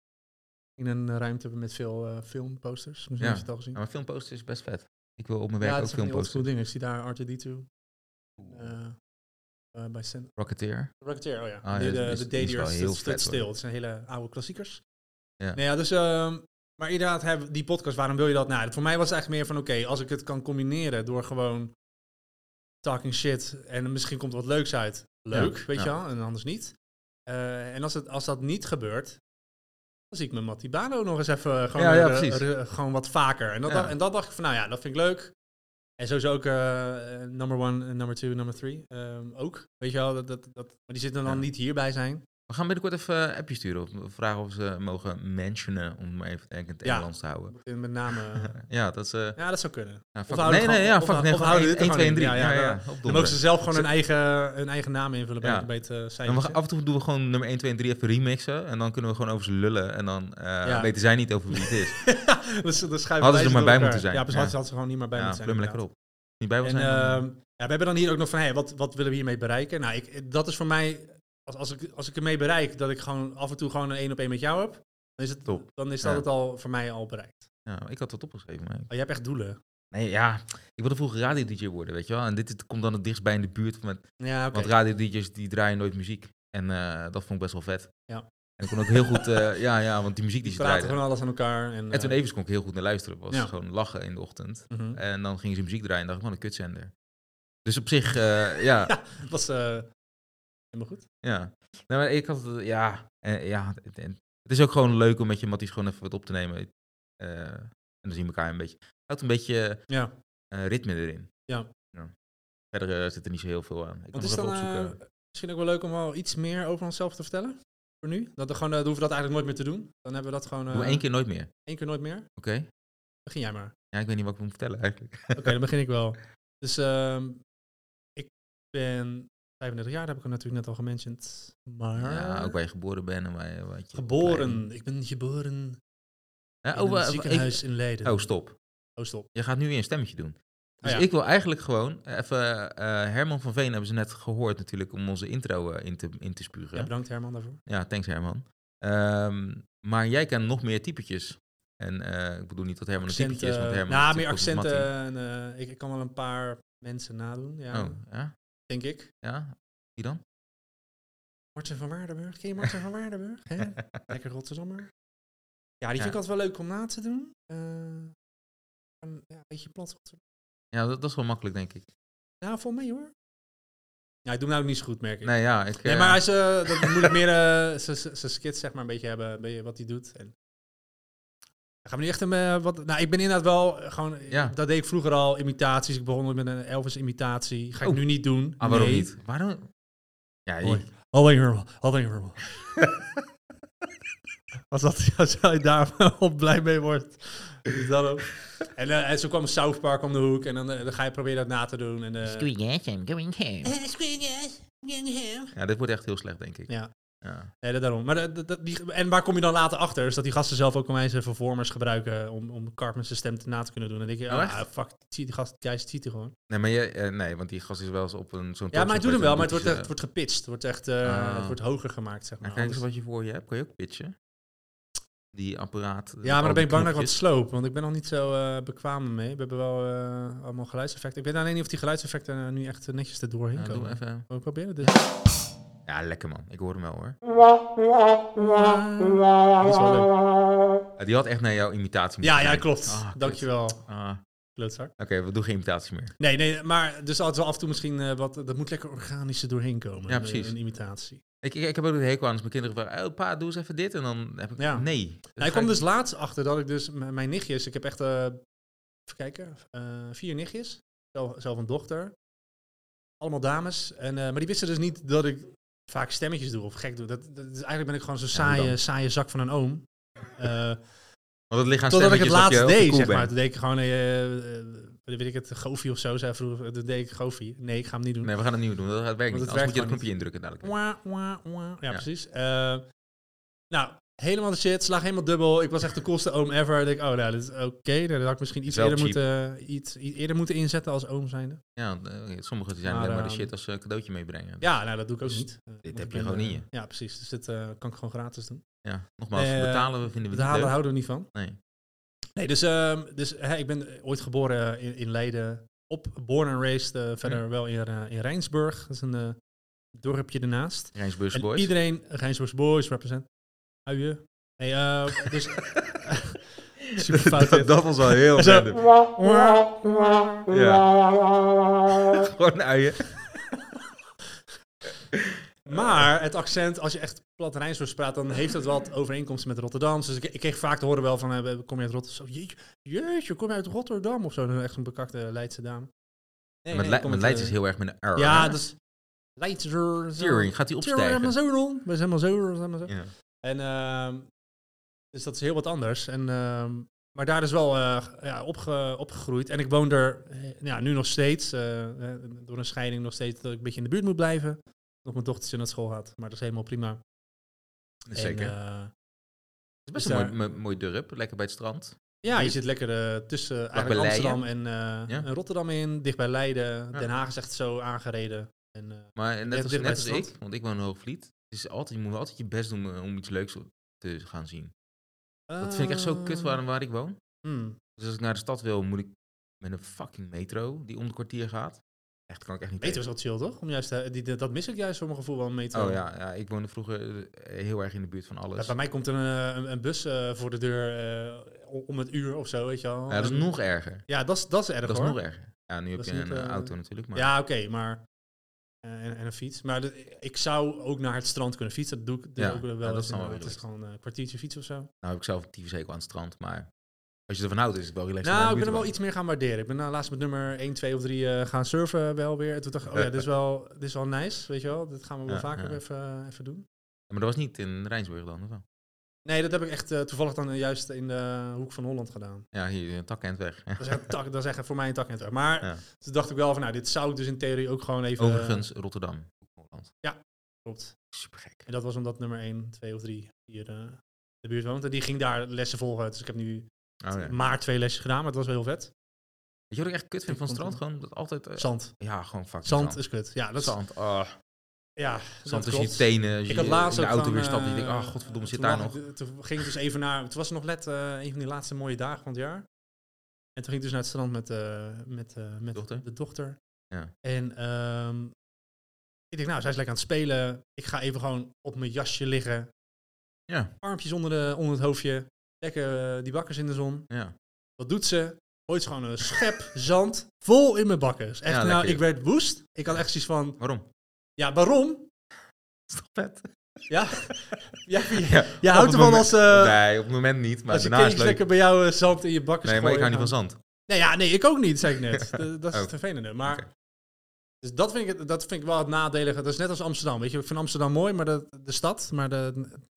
B: in een ruimte met veel eh, filmposters. Misschien
A: Ja.
B: heb je het al gezien.
A: ja, maar filmposter is best vet. Ik wil op mijn
B: Ja,
A: werk
B: het
A: ook
B: is van die
A: filmposter.
B: oldschool dingen. Ik zie daar R2-D2 eh, eh, bij Sen
A: Rocketeer.
B: Rocketeer, oh ja.
A: Ah, ja,
B: de
A: die
B: de,
A: is-
B: de
A: die is
B: Day
A: wel
B: Deers,
A: heel
B: dat
A: vet,
B: staat
A: hoor.
B: stil. Het zijn hele oude klassiekers.
A: Ja.
B: Nee, ja, dus, ehm, maar inderdaad, hebben die podcast, waarom wil je dat? Nou, voor mij was het eigenlijk meer van, oké, als ik het kan combineren door gewoon talking shit en misschien komt er wat leuks uit. Leuk,
A: Ja,
B: weet je
A: ja.
B: wel, en anders niet. Eh, en als, het, als dat niet gebeurt, dan zie ik mijn Mattibano nog eens even gewoon,
A: Ja, ja,
B: eh,
A: precies.
B: eh, gewoon wat vaker. En dat,
A: Ja.
B: dacht, en dat dacht ik van, nou ja, dat vind ik leuk. En sowieso ook eh, eh, number one, eh, number two, number three. ehm, ook, weet je wel, dat, dat, dat, maar die zitten dan
A: Ja.
B: niet hierbij zijn.
A: We gaan binnenkort even een appje sturen. Of we vragen of ze mogen mentionen, om het maar even denk ik in het
B: Ja.
A: Nederlands te houden.
B: En Met name, eh,
A: (laughs) Ja, dat is... eh,
B: ja, dat zou kunnen.
A: ja,
B: Of
A: fuck,
B: houden
A: nee,
B: we
A: nee, ja,
B: gewoon- of
A: fuck,
B: we-
A: nee,
B: of we
A: gewoon
B: houden
A: 1,
B: dit er
A: 1, 2 en
B: gewoon
A: 3. Ja,
B: in.
A: ja,
B: Ja, ja, ja.
A: op
B: Dan mogen
A: donderdag.
B: ze zelf gewoon hun eigen, hun eigen naam invullen bij
A: Ja.
B: het- bij het eh,
A: En we
B: cijfertje.
A: gaan- af en toe doen we gewoon nummer 1, 2 en 3 even remixen. En dan kunnen we gewoon over ze lullen. En dan eh,
B: Ja.
A: weten zij niet over wie het is.
B: (laughs) dus, dan schuiven
A: Hadden ze
B: wij
A: er
B: door
A: maar bij
B: elkaar.
A: moeten zijn.
B: Ja,
A: Ja.
B: precies, hadden ze- hadden ze gewoon niet meer bij
A: ja,
B: moeten
A: plum
B: zijn.
A: lekker op. Niet bij wil
B: En,
A: zijn. dan-
B: ehm, ja, we hebben dan hier ook nog van, hey, wat, wat willen we hiermee bereiken? Nou, ik, dat is voor mij, als, als, ik, als ik ermee bereik, dat ik gewoon af en toe gewoon een één op één met jou heb, dan is, het,
A: Top.
B: dan is dat
A: Ja.
B: het al voor mij al bereikt.
A: ja, ik had dat opgeschreven. Maar...
B: Oh, jij hebt echt doelen.
A: Nee, ja. Ik wilde vroeger radio-dj worden, weet je wel. En dit is- komt dan het dichtst bij in de buurt. Van mijn...
B: Ja, oké.
A: Want radio-dj's die draaien nooit muziek. En eh, dat vond ik best wel vet.
B: Ja.
A: En ik kon ook heel goed... eh, (laughs) ja, ja, want die muziek die
B: Die
A: ze
B: praten
A: draaiden...
B: gewoon alles aan elkaar. En,
A: En toen
B: eh,
A: Evers kon ik heel goed naar luisteren. was
B: Ja.
A: gewoon lachen in de ochtend.
B: mhm.
A: En dan gingen ze muziek draaien en dacht ik, man, een kutzender. Dus op zich,
B: (laughs)
A: eh, ja, ja.
B: Dat was eh, helemaal goed.
A: Nee, Nou, maar ik had, het- ja, eh, ja het, en het is ook gewoon leuk om met je matties gewoon even wat op te nemen. Eh, en dan zien we elkaar een beetje. Houdt een beetje
B: Ja.
A: eh, ritme erin.
B: Ja.
A: Verder eh, zit er niet zo heel veel aan. Ik kan het
B: Want is
A: even
B: dan
A: opzoeken.
B: eh, misschien ook wel leuk om wel iets meer over onszelf te vertellen? Voor nu? Dat we gewoon, eh, dan hoeven we dat eigenlijk nooit meer te doen. Dan hebben we dat gewoon eh,
A: Doe één keer nooit meer.
B: één keer nooit meer.
A: Oké?
B: Begin jij maar.
A: Ja, ik weet niet wat ik moet vertellen eigenlijk.
B: Oké, dan begin ik wel. Dus ehm, ik ben 35 jaar, dat heb ik natuurlijk net al gementiond. Maar
A: Ja, ook waar je geboren bent en waar je... Wat je
B: Ah. geboren. Ik ben geboren
A: Ja,
B: in
A: oh,
B: een
A: eh,
B: ziekenhuis in
A: ik-
B: Leiden.
A: oh, stop.
B: Oh, stop.
A: Je gaat nu weer een stemmetje doen. Dus
B: Oh ja.
A: ik wil eigenlijk gewoon even... eh, Herman van Veen hebben ze net gehoord natuurlijk om onze intro eh, in, te, in te spugen.
B: Ja,
A: Ja,
B: bedankt Herman daarvoor.
A: thanks Herman. Ehm, maar jij kent nog meer typetjes. En eh, ik bedoel niet dat Herman een typetje is, want
B: eh,
A: Herman... dus
B: nou,
A: is
B: meer
A: natuurlijk ook een
B: accenten. En, eh, ik, ik kan wel een paar mensen nadoen, ja,
A: mattie. Oh, ja?
B: denk ik.
A: Ja? Wie dan?
B: Martin van Waardenburg. Ken je Martin van Waardenburg? Hè?
A: (laughs)
B: Lekker Rotterdammer. Ja, die
A: Ja.
B: vind ik altijd wel leuk om na te doen. Eh, een, ja, een beetje plat Rotterdam.
A: ja, dat, dat is wel makkelijk, denk ik.
B: Nou, vol mee hoor. Ja, ik doe hem nou ook niet zo goed, merk ik.
A: Nee, ja, ik...
B: Nee,
A: eh,
B: maar hij
A: (laughs)
B: is, eh, dat moet ik meer eh, zijn- zijn zijn skits zeg maar een beetje hebben, een beetje wat hij doet. En dan gaan we nu echt een, eh, wat, nou ik ben inderdaad wel eh, gewoon,
A: Ja.
B: dat deed ik vroeger al, imitaties. Ik begon met een Elvis imitatie, ga ik
A: Oh.
B: nu niet doen.
A: Ah, waarom
B: Nee.
A: niet? Waarom... Ja, je-
B: Mooi. Alleen Herman, alleen Herman.
A: (laughs)
B: Als dat (laughs) als jij daar op blij mee wordt. Is dat
A: (laughs)
B: ook. En, eh, en zo kwam South Park om de hoek en dan, eh, dan ga je proberen dat na te doen.
A: Dus
B: En, eh,
D: Squeakers, I'm going home.
A: ja, dit wordt echt heel slecht, denk ik.
B: Ja.
A: Ja.
B: Nee, dat daarom. Maar dat- dat- dat- die, en waar kom je dan later achter? Is dat die gasten zelf ook opeens eh, vervormers gebruiken om, om Cartman zijn stem te- na te kunnen doen. En dan denk je,
A: Oh,
B: ah,
A: echt?
B: fuck, die zie- die gast, die guys ziet er gewoon.
A: Nee, maar je, eh, nee, want die gast is wel eens op een zo'n...
B: Ja, maar
A: talkshow
B: hij doet hem wel, maar het wordt,
A: geweest en dan doet
B: echt, het wordt gepitcht. Het wordt echt, eh,
A: Ah.
B: het wordt hoger gemaakt, zeg
A: hij
B: maar.
A: zo- Nou, kijk eens
B: Anders-
A: wat je voor je hebt. Kan je ook pitchen? Die apparaat. eh, met
B: Ja, maar
A: al
B: dan ben ik
A: die
B: bang dat ik
A: knopjes.
B: wat sloop, want ik ben nog niet zo eh, bekwaam mee. We hebben wel eh, allemaal geluidseffecten. Ik weet alleen niet of die geluidseffecten eh, nu echt eh, netjes er doorheen
A: Ja, doe
B: komen.
A: hem even.
B: We proberen dit.
A: Ja, lekker man. Ik hoor hem wel hoor.
B: Dat is wel leuk.
A: Eh, Die had echt naar jouw imitatie moeten
B: Ja, ja,
A: zijn.
B: klopt.
A: Ah, kut.
B: Dankjewel,
A: Ah, Oké,
B: klootzak.
A: we doen geen imitatie meer.
B: Nee, nee, maar dus altijd wel af en toe misschien eh, wat. Dat moet lekker organisch er doorheen komen.
A: Ja, precies. Dus
B: eh, Een imitatie.
A: Ik, ik, ik heb ook een hekel aan als mijn kinderen vragen... Oh, pa, doe eens even dit. En dan heb ik...
B: Ja.
A: Nee.
B: Nou, ik kwam dus laatst achter dat ik dus m- mijn nichtjes. Ik heb echt. eh, even kijken. eh, vier nichtjes. Zelf, zelf een dochter. Allemaal dames. En, eh, maar die wisten dus niet dat ik vaak stemmetjes doe of gek doe. Dat, dat, dus eigenlijk ben ik gewoon zo'n
A: Ja, hoe
B: saaie,
A: dan?
B: saaie zak van een oom.
A: (laughs)
B: Eh,
A: Want het ligt aan
B: Totdat ik
A: stemmetjes dat
B: het
A: je
B: laatst
A: heel
B: deed,
A: cool
B: zeg maar.
A: bent.
B: Toen deed ik gewoon, eh, eh, eh, weet ik het, Goofy of zo. Zei vroeger, toen deed ik Goofy. Nee, ik ga hem niet doen.
A: Nee, we gaan het nieuw doen. Dat gaat werken
B: Want
A: niet.
B: het
A: Anders moet je
B: werkt
A: het
B: gewoon
A: knopje indrukken dadelijk.
B: Wah, wah, wah. Ja,
A: Ja.
B: precies. Eh, nou, helemaal de shit, slaag helemaal dubbel. Ik was echt de coolste oom ever. Ik denk, oh nou, dit is oké. Nou, dat had ik misschien iets
A: Wel
B: eerder,
A: cheap.
B: moeten, eh, iets, i- eerder moeten inzetten als oom zijnde.
A: Ja, eh, sommigen zijn
B: Maar,
A: alleen maar de
B: eh,
A: shit als ze een cadeautje meebrengen.
B: Ja, nou dat doe ik ook
A: Dus
B: niet. Eh, want
A: heb
B: ik
A: je
B: ben,
A: gewoon in
B: eh,
A: je.
B: Ja, precies. Dus dit eh, kan ik gewoon gratis doen.
A: Ja, nogmaals,
B: Eh,
A: betalen we vinden we het niet
B: Betalen
A: leuk.
B: houden we niet van.
A: Nee.
B: Nee, dus, ehm, dus hè, ik ben ooit geboren eh, in, in Leiden. Op, born and raised, eh, verder wel in, eh, in Rijnsburg. Dat is een eh, dorpje ernaast.
A: Rijnsburgse
B: En
A: boys. (laughs)
B: iedereen, eh, Rijnsburgse boys, represent. Uien. Nee,
A: (laughs)
B: eh, dus... Super fout dit.
A: dat, dat was wel heel
B: Zo.
A: random. Ja. Gewoon uien.
B: Maar het accent, als je echt plat Rijnsburgs praat, dan heeft het wat overeenkomsten met Rotterdam. Dus ik, ik kreeg vaak te horen wel van, eh, kom je uit Rotterdam? Zo, Jeetje, jeetje, kom je uit Rotterdam? Of zo, dan echt een bekakte Leidse dame. Nee,
A: Maar
B: nee,
A: Le-
B: ik kom
A: maar
B: uit,
A: Leids is
B: eh,
A: heel erg met een R.
B: Ja,
A: hè?
B: dus Leidser. zo.
A: Tering, gaat hij
B: Tering,
A: opstijgen?
B: helemaal zo, rond. We zijn helemaal zo, we zijn helemaal zo.
A: Ja.
B: En, ehm, dus dat is heel wat anders. En, ehm, maar daar is wel eh, ja, opge- opgegroeid. En ik woon er eh, ja, nu nog steeds, eh, eh, door een scheiding nog steeds, dat ik een beetje in de buurt moet blijven. Nog mijn dochtertje naar school gaat, maar dat is helemaal prima. En,
A: Zeker.
B: eh,
A: het is best
B: dus
A: een
B: daar-
A: mooi, mooi- mooi dorp, lekker bij het strand.
B: ja, je zit lekker eh, tussen eigenlijk
A: bij
B: Amsterdam en, eh,
A: Ja.
B: en Rotterdam in, dicht bij Leiden.
A: Ja.
B: Den Haag is echt zo aangereden. En, eh,
A: Maar net
B: Ja,
A: als,
B: dicht bij
A: net
B: het
A: als
B: strand.
A: ik, want ik woon in Hoogvliet. Het is altijd, je moet altijd je best doen eh, om iets leuks te gaan zien. Dat vind ik echt zo kut
B: Ah.
A: waar, waar ik woon.
B: eh, hmm.
A: Dus als ik naar de stad wil, moet ik met een fucking metro die om de kwartier gaat. Echt, kan ik echt niet
B: Metro
A: tegen.
B: is wel chill, toch? Om juist, eh, die, dat mis ik juist voor mijn gevoel wel, metro.
A: Oh ja, ja, ik woonde vroeger eh, heel erg in de buurt van
B: Ja,
A: alles.
B: bij mij komt er een, eh, een, een bus eh, voor de deur eh, o- om het uur of zo, weet je wel.
A: Ja, dat
B: En-
A: is nog erger.
B: Ja, dat is, dat is erg
A: Dat is
B: hoor.
A: nog erger. Ja, nu heb
B: Dat
A: je
B: is
A: een
B: niet,
A: eh,
B: eh,
A: auto natuurlijk, maar
B: Ja, oké, maar... eh, en, en een fiets. Maar de- ik zou ook naar het strand kunnen fietsen. Dat doe ik dus
A: Ja,
B: ook wel
A: ja,
B: eens.
A: dat is dan wel
B: inderdaad.
A: weer
B: het is gewoon eh, een kwartiertje fietsen of zo.
A: nou heb ik zelf een tyfushekel aan het strand. Maar als je ervan houdt, is het wel relaxed. om
B: nou,
A: naar
B: ik
A: de
B: ben er wel
A: buurt
B: iets meer gaan waarderen. Ik ben nou laatst met nummer 1, 2 of 3 eh, gaan surfen wel weer. En toen dacht ik, oh ja, dit is wel, dit is wel nice, weet je wel. Dit gaan we wel
A: Ja,
B: vaker
A: ja.
B: even, eh, even doen.
A: te wonen. Maar dat was niet in Rijnsburg dan, of wel?
B: Nee, dat heb ik echt eh, toevallig dan juist in de hoek van Holland gedaan.
A: Ja, hier, een tak en het weg.
B: Dat is, echt tak, dat is echt voor mij een tak net. Maar
A: Ja.
B: toen dacht ik wel van, nou, dit zou ik dus in theorie ook gewoon even...
A: Overigens, Rotterdam. Holland.
B: Klopt.
A: Supergek.
B: En dat was omdat nummer 1, 2 of 3 hier eh, in de buurt woont. En die ging daar lessen volgen. Dus ik heb nu
A: Oh, ja.
B: maar twee lesjes gedaan, maar het was wel heel vet.
A: Weet je wat ik echt kut vind van het strand? Gewoon dat altijd... eh,
B: Zand.
A: ja, gewoon fucking zand.
B: Zand is kut. Ja, dat is...
A: Zand, ah,
B: Ja,
A: zand
B: dat
A: tussen je
B: klopt.
A: tenen. Als je
B: Ik had laatst
A: eh, in de
B: ook
A: auto
B: van,
A: weer stapt. en je
B: eh,
A: denkt, ah, godverdomme, zit
B: toen
A: daar
B: lag
A: nog.
B: ik- Toen ging ik dus even naar... Het was nog net eh, een van die laatste mooie dagen van het jaar. En toen ging ik dus naar het strand met, eh, met, eh, met
A: Dochter?
B: de dochter.
A: Ja.
B: En ehm, ik denk, nou, zij is lekker aan het spelen. Ik ga even gewoon op mijn jasje liggen.
A: Ja,
B: Armpjes onder, de, onder het hoofdje. Lekker eh, die bakkers in de zon.
A: ja.
B: Wat doet ze? Ooit gewoon een schep zand vol in mijn bakkers. Echt,
A: Ja,
B: nou,
A: lekker.
B: ik werd woest. Ik had echt zoiets van,
A: Waarom? (laughs)
B: ja, waarom?
A: Is toch vet? (laughs)
B: Ja, ja, je,
A: Ja,
B: je
A: op
B: houdt
A: het
B: ervan
A: moment-
B: als, eh,
A: nee, op het moment niet, maar
B: als je
A: daarna is
B: kindjes
A: het leuk.
B: lekker bij jou eh, zand in je bakkers
A: Nee, maar ik hou niet van
B: gooien.
A: zand.
B: Nee, ja, nee, ik ook niet, zei ik
A: (laughs)
B: net. dat, dat is het
A: Oh.
B: vervelende. Maar
A: Oké.
B: dus dat, vind ik, het- dat vind ik wel het nadelige. Dat is net als Amsterdam. Weet je, ik vind Amsterdam mooi, maar de, de stad. Maar de,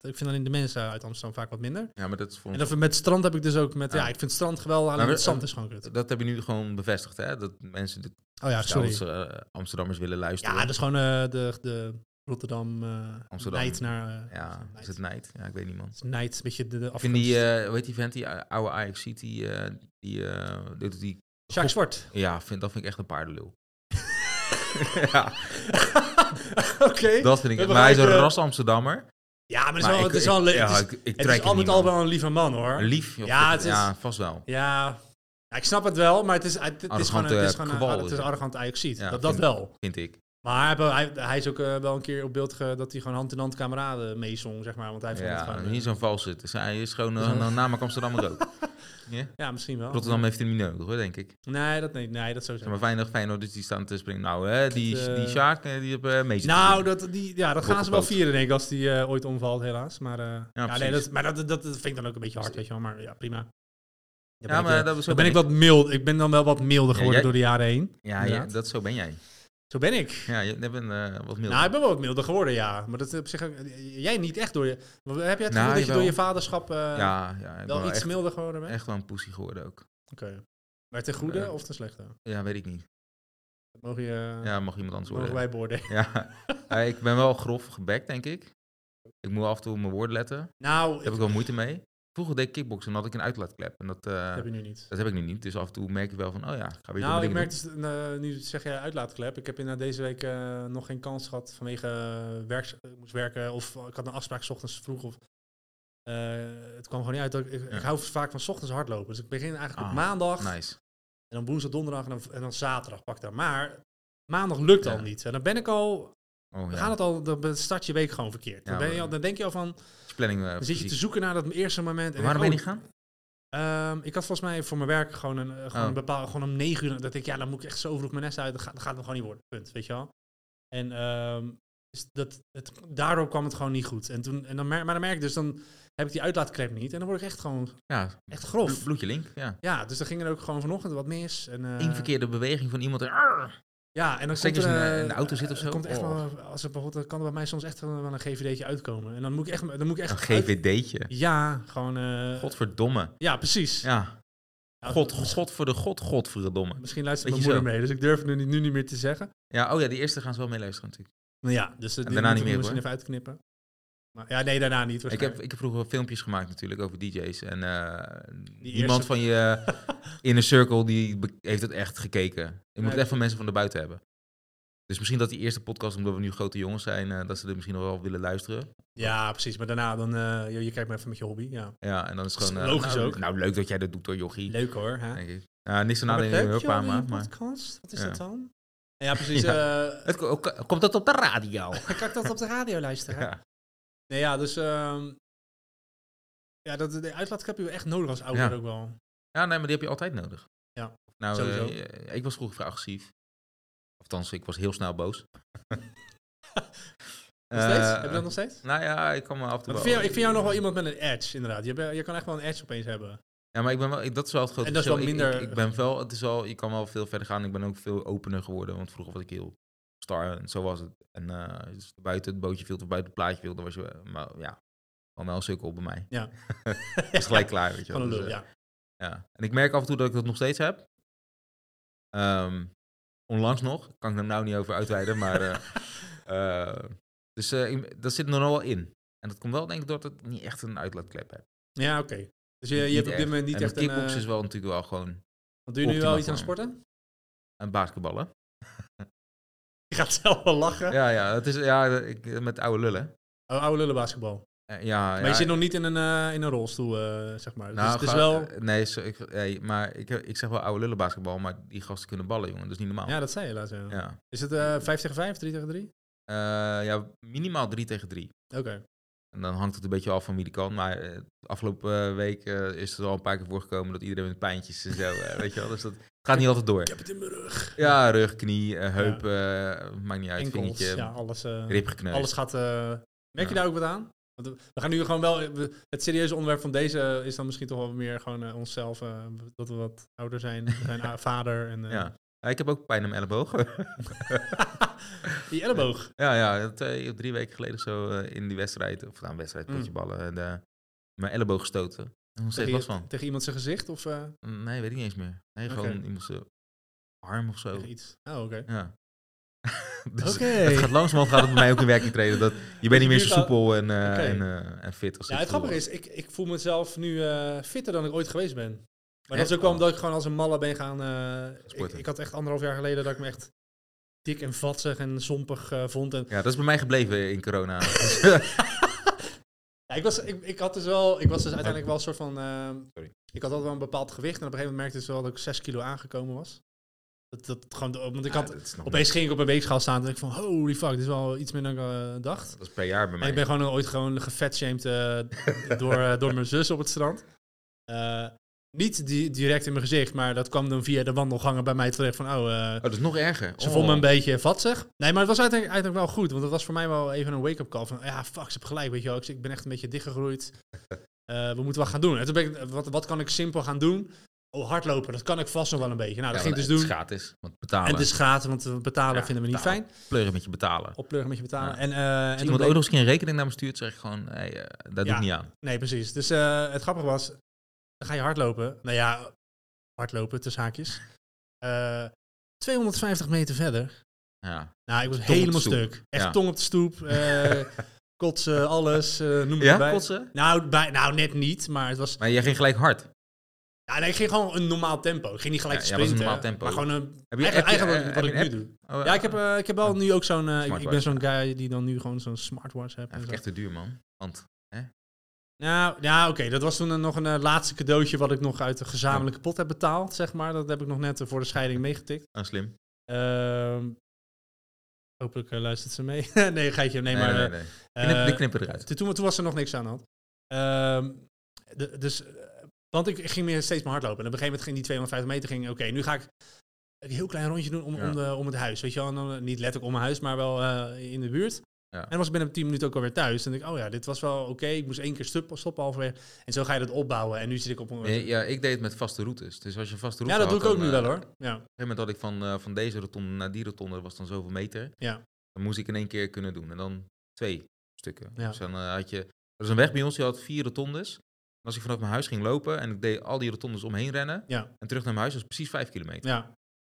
B: ik vind alleen de mensen uit Amsterdam vaak wat minder.
A: Ja, maar dat is voor
B: En dan met strand heb ik dus ook met... Ja,
A: Ja.
B: ik vind het strand geweldig, alleen
A: Maar
B: het
A: we- eh,
B: zand is gewoon kut.
A: Dat heb je nu gewoon bevestigd, hè? Dat mensen, de
B: Oh ja, sorry.
A: zelfs eh, Amsterdammers willen luisteren.
B: Ja, dat is gewoon eh, de, de Rotterdam eh
A: Amsterdam.
B: Nijd naar... eh,
A: Ja,
B: Nijd.
A: is het nijd? Ja, ik weet niet, man.
B: Het is Nijd, een beetje de, de
A: Ik vind die,
B: afgunst.
A: eh, hoe heet die vent, die eh, oude Ajax City, die, eh, die, die, (laughs)
B: Sjaak Zwart.
A: ja, vind, dat vind ik echt een paardenlul. (laughs) ja,
B: Oké.
A: dat vind ik
B: We
A: echt. Maar hij is een
B: begrijpen-
A: ras Amsterdammer.
B: Ja, maar het is
A: Maar
B: wel,
A: ik-
B: het is
A: ik-
B: wel leuk.
A: Ja,
B: het is,
A: ik, ik
B: het
A: trek
B: is al
A: niet,
B: met al
A: man.
B: wel een lieve man, hoor.
A: Lief? joh,
B: Ja,
A: dat-
B: het is-
A: ja, vast wel.
B: Ja. ja, ik snap het wel, maar het is, het, het is
A: Arrogante
B: gewoon een, het is gewoon een,
A: kwal,
B: arro-
A: is
B: het is een
A: het.
B: arrogant Ajaxiet.
A: Ja,
B: dat, dat
A: vind-
B: wel.
A: Vind ik.
B: Maar hij, hij, hij is ook eh, wel een keer op beeld ge- dat hij gewoon hand in hand kameraden meezong, zeg maar. Want hij vindt het
A: Ja,
B: gewoon... eh,
A: niet zo'n valse. Het is, hij is gewoon
B: Zo'n-
A: een uh, namelijk Amsterdammer
B: (laughs)
A: ook. Ja?
B: ja, misschien wel.
A: Rotterdam heeft hem niet nodig, hoor, denk ik.
B: Nee, dat, nee, nee, dat sowieso.
A: Zeg maar Feyenoord, Feyenoord, dus die staan te springen. Nou, hè, die,
B: Het, eh,
A: die Sjaak, eh, die hebben uh,
B: Nou, dat, die, ja, dat gaan ze wel
A: Rottepoot.
B: vieren, denk ik, als die eh, ooit omvalt, helaas. Maar, eh, ja, nee,
A: precies.
B: dat, maar dat, dat, dat vind ik dan ook een beetje hard, weet je wel. Maar ja, prima. Dan ben
A: ja,
B: ik,
A: maar
B: eh,
A: dat, zo
B: dan ben ik wat mild. Ik ben dan wel wat milder geworden
A: jij-
B: door de jaren heen.
A: Ja, ja,
B: inderdaad.
A: dat zo ben jij.
B: Zo ben ik.
A: Ja, je je bent eh, wat milder.
B: Nou, ik ben wel wat milder geworden, ja. Maar dat is op zich ook- jij niet echt door je... Heb jij het gevoel
A: Nou,
B: dat je
A: jawel.
B: door je vaderschap eh,
A: ja, ja, ik ben
B: wel
A: wel
B: iets
A: echt,
B: milder geworden bent?
A: echt wel een poesie geworden ook.
B: Oké. Maar ten goede
A: Eh.
B: of ten slechte?
A: Ja, weet ik niet.
B: Dat mogen, je,
A: Ja, mag iemand anders
B: mogen
A: worden.
B: wij beoordelen.
A: Ja, Eh, ik ben wel grof gebekt, denk ik. Ik moet af en toe op mijn woorden letten. Daar
B: Nou,
A: heb ik wel moeite mee. Vroeger deed ik kickboksen en had ik een uitlaatklep. En dat, eh,
B: dat heb je nu niet.
A: dat heb ik nu niet. Dus af en toe merk ik wel van, oh ja, ik ga weer domme
B: Nou, ik
A: dingen
B: merk dus, eh, nu zeg jij uitlaatklep. Ik heb inderdaad deze week eh, nog geen kans gehad vanwege eh, werks, ik moest werken of ik had een afspraak 's ochtends vroeg. Of, eh, het kwam gewoon niet uit. dat Ik, ik,
A: Ja.
B: hou vaak van 's ochtends hardlopen. Dus ik begin eigenlijk
A: Ah,
B: op maandag
A: doen. Nice.
B: en dan woensdag, donderdag en dan, en dan zaterdag pak ik daar. Maar maandag lukt
A: Ja.
B: al niet. En dan ben ik al,
A: Oh
B: we
A: ja,
B: gaan het al, dan start je week gewoon verkeerd.
A: Ja,
B: dan, ben je
A: maar-
B: al, dan denk je al van,
A: is planning. eh,
B: dan zit je Oh. te
A: fysiek.
B: zoeken naar dat eerste moment. En
A: Waarom ben
B: denk
A: je
B: je,
A: niet gaan?
B: Ehm, ik had volgens mij voor mijn werk gewoon een, eh, gewoon
A: Oh.
B: een bepaalde, gewoon om negen uur. Dat ik, ja, dan moet ik echt zo vroeg mijn nest uit. Dat gaat, dat gaat hem gewoon niet worden. Punt, weet je wel. En ehm, dus dat, het, daardoor kwam het gewoon niet goed. En toen, en dan mer- maar dan merk ik dus, dan heb ik die uitlaatklep niet. En dan word ik echt gewoon,
A: Ja,
B: echt grof.
A: blo- bloedje link. Ja.
B: Ja, dus dan ging er ook gewoon vanochtend wat mis. En, eh,
A: Eén verkeerde beweging van iemand. en- Arr!
B: Ja, en dan
A: Zeker
B: komt er,
A: als je in,
B: eh,
A: eh, in de auto zit of
B: er
A: zo.
B: Komt echt
A: Oh.
B: wel, als er bijvoorbeeld, dan kan er bij mij soms echt wel een GVD'tje uitkomen. En dan moet ik echt, dan moet ik echt
A: Een
B: uit-
A: GVD'tje.
B: Ja, gewoon. eh,
A: Godverdomme.
B: Ja, precies.
A: Ja,
B: Ja, dus
A: God, God voor de God, Godverdomme.
B: Misschien luistert
A: Weet
B: mijn
A: je
B: moeder mee, dus ik durf het nu niet, nu niet meer te zeggen.
A: Ja, oh ja, die eerste gaan ze wel meeluisteren natuurlijk.
B: Nou ja, dus dat
A: En daarna niet meer,
B: misschien even uitknippen. Maar, ja, nee, daarna niet.
A: Ik heb,
B: waarschijnlijk.
A: ik heb vroeger filmpjes gemaakt natuurlijk over DJ's. En eh,
B: eerste-
A: niemand van je
B: (laughs)
A: inner circle die be- heeft het echt gekeken. Je moet het echt van mensen van de buiten hebben. Dus misschien dat die eerste podcast, omdat we nu grote jongens zijn, eh, dat ze er misschien nog wel willen luisteren.
B: Ja, precies. Maar daarna dan, eh, je, je kijkt me even met je hobby. Ja.
A: Ja, en dan is het
B: Dat is
A: gewoon... eh,
B: logisch
A: nou,
B: ook.
A: Nou, leuk dat jij dat doet door jochie.
B: Leuk hoor. Hè?
A: Denk ik. Nou, niks aan
B: Maar
A: nadelen in
B: leuk,
A: Europa,
B: joh, die
A: maar... maar
B: podcast? Wat is
A: Ja.
B: dat dan? Ja, precies. eh, (laughs)
A: het, ko- ko- komt dat op de radio?
B: kan ik dat op de radio
A: (laughs)
B: luisteren?
A: ja.
B: Nee, ja, dus... ehm, ja, dat, de uitlaatklep heb je echt nodig als ouder
A: Ja.
B: ook wel.
A: Ja, nee, maar die heb je altijd nodig.
B: Ja,
A: Nou,
B: sowieso.
A: eh, ik was vroeger vrij agressief. Althans, ik was heel snel boos.
B: (laughs) Nog steeds?
A: Eh,
B: heb je dat nog steeds?
A: Nou ja, ik kan me af en toe
B: Want
A: wel...
B: ik vind, jou, ik vind jou nog wel iemand met een edge, inderdaad. Je, bent- je kan echt wel een edge opeens
A: (laughs)
B: hebben.
A: Ja, maar ik ben wel, ik, dat is wel het grote
B: En dat is
A: verschil.
B: wel
A: Ik-
B: minder-
A: Ik, ik, ben wel, het is wel, je kan wel veel verder gaan. Ik ben ook veel opener geworden, want vroeger was ik heel star en zo was het. En eh dus buiten het bootje viel of buiten het plaatje viel, dan was je, eh, maar ja, gewoon wel een sukkel bij mij.
B: Ja.
A: is gelijk
B: (laughs)
A: klaar, weet je
B: Van
A: wel.
B: een
A: Dus,
B: lul,
A: eh,
B: ja.
A: Ja, en ik merk af en toe dat ik dat nog steeds heb. Ehm, onlangs nog, kan ik daar nou niet over uitweiden, maar...
B: (laughs)
A: eh, eh, dus eh, ik- dat zit er nog wel in. En dat komt wel denk ik doordat ik niet echt een uitlaatklep heb.
B: Ja, oké. Dus je, je
A: Niet
B: hebt op
A: echt.
B: dit moment niet
A: en
B: echt een...
A: kickbox
B: eh,
A: is wel natuurlijk wel gewoon
B: want doe je nu wel
A: optimaal
B: iets aan het
A: voor
B: sporten?
A: een basketballen.
B: (laughs) Je gaat zelf wel lachen.
A: Ja, ja, het is, ja ik, met oude lullen.
B: Oh, oude lullenbasketbal.
A: Eh, ja,
B: Maar
A: ja,
B: je zit nog niet in een, eh, in een rolstoel, eh, zeg maar.
A: nou,
B: dus het is
A: ga-
B: wel...
A: eh, Nee, zo- ik, nee, maar ik, eh, ik zeg wel oude lullen basketbal, maar die gasten kunnen ballen, jongen. Dat is niet normaal.
B: ja, dat zei je laatst. ja.
A: nou. ja.
B: Is het eh 5 tegen 5, 3 tegen 3?
A: Eh, ja minimaal drie tegen drie.
B: Oké.
A: En dan hangt het een beetje af van wie die kan. Maar eh, de afgelopen eh, week eh, is het al een paar keer voorgekomen dat iedereen met pijntjes en zo.
B: (laughs)
A: eh, weet je wel, dus dat gaat niet altijd door.
B: heb het in mijn rug.
A: Ja, rug, knie, eh, heup, eh, maakt niet uit.
B: Enkels,
A: vingertje,
B: ja, alles, eh,
A: rib gekneusd.
B: alles gaat... eh, merk je
A: Ja.
B: daar ook wat aan? Want we- we gaan nu gewoon wel... we- Het serieuze onderwerp van deze is dan misschien toch wel meer gewoon eh, onszelf. eh, dat we wat ouder zijn. We zijn
A: (laughs)
B: a- vader en... eh,
A: Ja. Ja, ik heb ook pijn aan mijn elleboog.
B: (laughs) Die elleboog.
A: (laughs) ja, ja, twee of drie weken geleden zo eh, in die wedstrijd, of nou, een wedstrijd,
B: Mm.
A: potjeballen, en, eh, mijn elleboog gestoten. En Nog steeds
B: Tegen,
A: last van.
B: tegen iemand zijn gezicht of
A: Oh.
B: eh,
A: Nee, weet ik niet eens meer. Nee, gewoon
B: Oké.
A: iemand zijn arm of zo.
B: tegen iets? Oh, oké.
A: Ja. (laughs) dus
B: Oké.
A: het gaat langzamerhand gaat het bij mij ook in werking treden. Dat, je bent niet meer
B: Nu
A: zo
B: ga-
A: soepel en, eh,
B: Oké.
A: en, eh, en fit als
B: Ja,
A: ik
B: het grappige
A: vroeger
B: is, ik, ik voel mezelf nu eh, fitter dan ik ooit geweest ben. Maar dat
A: Echt?
B: is ook wel
A: Oh.
B: omdat ik gewoon als een malle ben gaan... eh, ik,
A: Sporten.
B: ik had echt anderhalf jaar geleden dat ik me echt dik en vatzig en zompig eh, vond. En,
A: was. Ja, dat is bij mij gebleven in
B: (laughs)
A: corona. Dus,
B: ja, ik, was, ik, ik, had dus wel, ik was dus uiteindelijk wel een soort van... eh,
A: Oh. Sorry.
B: Ik had altijd wel een bepaald gewicht. En op een gegeven moment merkte ik dus wel dat ik zes kilo aangekomen was. Dat, dat, gewoon, de- want ik had,
A: dat, is nog-
B: opeens ging ik op een weegschaal staan en dacht ik van... Holy fuck, dit is wel iets meer dan ik eh, dacht.
A: dat is per jaar bij
B: Maar
A: mij. Oh,
B: ik ben gewoon ooit gewoon gevetshamed eh,
A: (laughs)
B: door, eh, door mijn zus op het strand. Eh, niet di- direct in mijn gezicht, maar dat kwam dan via de wandelgangen bij mij terecht van, oh, eh,
A: Oh, dat is nog erger.
B: ze
A: Oh.
B: vond me een beetje vatsig. Nee, maar het was uiteindelijk, uiteindelijk wel goed, want het was voor mij wel even een wake-up call van, ja, fuck, ze heb gelijk, weet je wel, ik, ik ben echt een beetje
A: (laughs)
B: dichtgegroeid. Eh, we moeten wat gaan doen. En toen ben ik, wat, wat kan ik simpel gaan doen? Oh, hardlopen, dat kan ik vast nog wel een beetje. Nou,
A: Ja,
B: dat ging ik
A: want
B: dus doen.
A: Het is gratis, want betalen.
B: En het is gratis, want we betalen
A: Ja,
B: vinden we niet
A: betalen.
B: fijn.
A: pleuren met je betalen.
B: Oppleuren met je betalen.
A: Ja.
B: En, eh, en
A: Als
B: toen
A: iemand ook
B: bleek-
A: nog eens een keer een rekening naar me stuurt, zeg ik gewoon, hey, eh, daar doe
B: Ja.
A: ik niet aan.
B: Nee, precies. Dus eh, het grappige was, dan ga je hardlopen. Nou ja, hardlopen tussen haakjes. Eh, 250 meter verder.
A: Ja.
B: Nou, ik was
A: op de
B: helemaal
A: stoep.
B: stuk. Echt
A: Ja. (laughs)
B: tong op de stoep. eh, Kotsen, alles, eh, noem het
A: Ja,
B: erbij.
A: kotsen?
B: Nou, bij, nou, net niet, maar het was...
A: Maar jij ging gelijk hard.
B: Ja, nee, ik ging gewoon een normaal tempo. Ik ging niet gelijk
A: Ja, ja, was
B: sprinten.
A: een normaal tempo.
B: Maar gewoon een...
A: Heb je-
B: eigenlijk
A: heb je,
B: eigenlijk
A: eh,
B: wat
A: heb
B: ik
A: je
B: nu
A: een
B: doe.
A: Oh,
B: Ja, ik heb, eh, ik heb wel nu ook zo'n... eh, ik- ik, ben
A: Smartwatch,
B: zo'n guy die dan nu gewoon zo'n smartwatch heeft. en zo.
A: Eigenlijk echt te duur, man. Want
B: Nou, ja, oké. Dat was toen eh, nog een eh, laatste cadeautje wat ik nog uit de gezamenlijke pot heb betaald, zeg maar. Dat heb ik nog net eh, voor de scheiding meegetikt.
A: ah, slim.
B: Ehm, hopelijk eh, luistert ze mee. (laughs) nee, geitje. Nee,
A: Nee,
B: maar...
A: nee, nee, nee.
B: eh,
A: Knip-
B: eh,
A: die knippen eruit.
B: toen, toen, toen was er nog niks aan de hand. Ehm, de- dus, eh, want ik, ik ging meer steeds maar hardlopen. En op een gegeven moment ging die 250 meter, ging, oké, nu ga ik een heel klein rondje doen om,
A: Ja.
B: om, de- om het huis. Weet je wel, En dan, eh, niet letterlijk om mijn huis, maar wel eh, in de buurt.
A: Ja.
B: En dan was ik binnen 10 minuten ook alweer thuis. En dacht ik, oh ja, dit was wel oké. Ik moest één keer stoppen, stoppen halverwege. En zo ga je dat opbouwen. En nu zit ik op een...
A: Nee, ja, ik deed het met vaste routes. Dus als je een vaste route
B: eh, ja, dat doe ik
A: had,
B: ook
A: dan,
B: nu
A: eh,
B: wel hoor. Ja.
A: Op een gegeven moment had ik van, eh, van deze rotonde naar die rotonde, dat was dan zoveel meter.
B: Ja.
A: Dan moest ik in één keer kunnen doen. En dan twee stukken.
B: Ja.
A: Dus dan eh, had je, er was een weg bij ons, die had vier rotondes. En als ik vanaf mijn huis ging lopen en ik deed al die rotondes omheen rennen
B: Ja.
A: en terug naar mijn huis, dat was precies vijf kilometer.
B: Ja,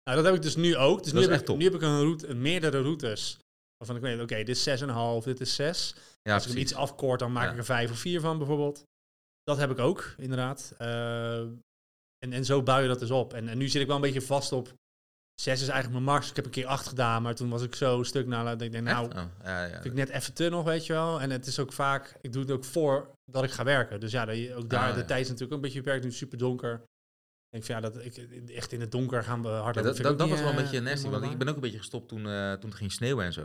B: nou, dat heb ik dus nu ook. Dus
A: Dat
B: nu
A: is
B: heb,
A: echt
B: ik,
A: top.
B: nu heb ik een route, een meerdere routes. Waarvan ik weet, oké, dit is 6,5, dit is 6.
A: Ja,
B: Als ik hem
A: precies.
B: iets afkort, dan maak
A: Ja.
B: ik er 5 of 4 van bijvoorbeeld. Dat heb ik ook, inderdaad. Eh, en, en zo bouw je dat dus op. En, en nu zit ik wel een beetje vast op. 6 is eigenlijk mijn max. Ik heb een keer 8 gedaan, maar toen was ik zo stuk naar. Dat ik denk, nou,
A: Echt? Oh, ja, ja.
B: vind ik net even te nog, weet je wel. En het is ook vaak, ik doe het ook voor dat ik ga werken. Dus ja, dat je- ook daar,
A: Ah,
B: de
A: ja.
B: tijd is natuurlijk ook een beetje beperkt. Nu is het super donker. Ik denk van ja, dat ik, echt in het donker gaan we
A: Ja,
B: hardlopen.
A: dat,
B: Vind ik
A: dat,
B: ook
A: dat
B: niet,
A: was wel een
B: eh,
A: beetje nasty,
B: helemaal
A: want ik
B: waar.
A: ben ook een beetje gestopt toen, eh, toen het ging sneeuwen en zo.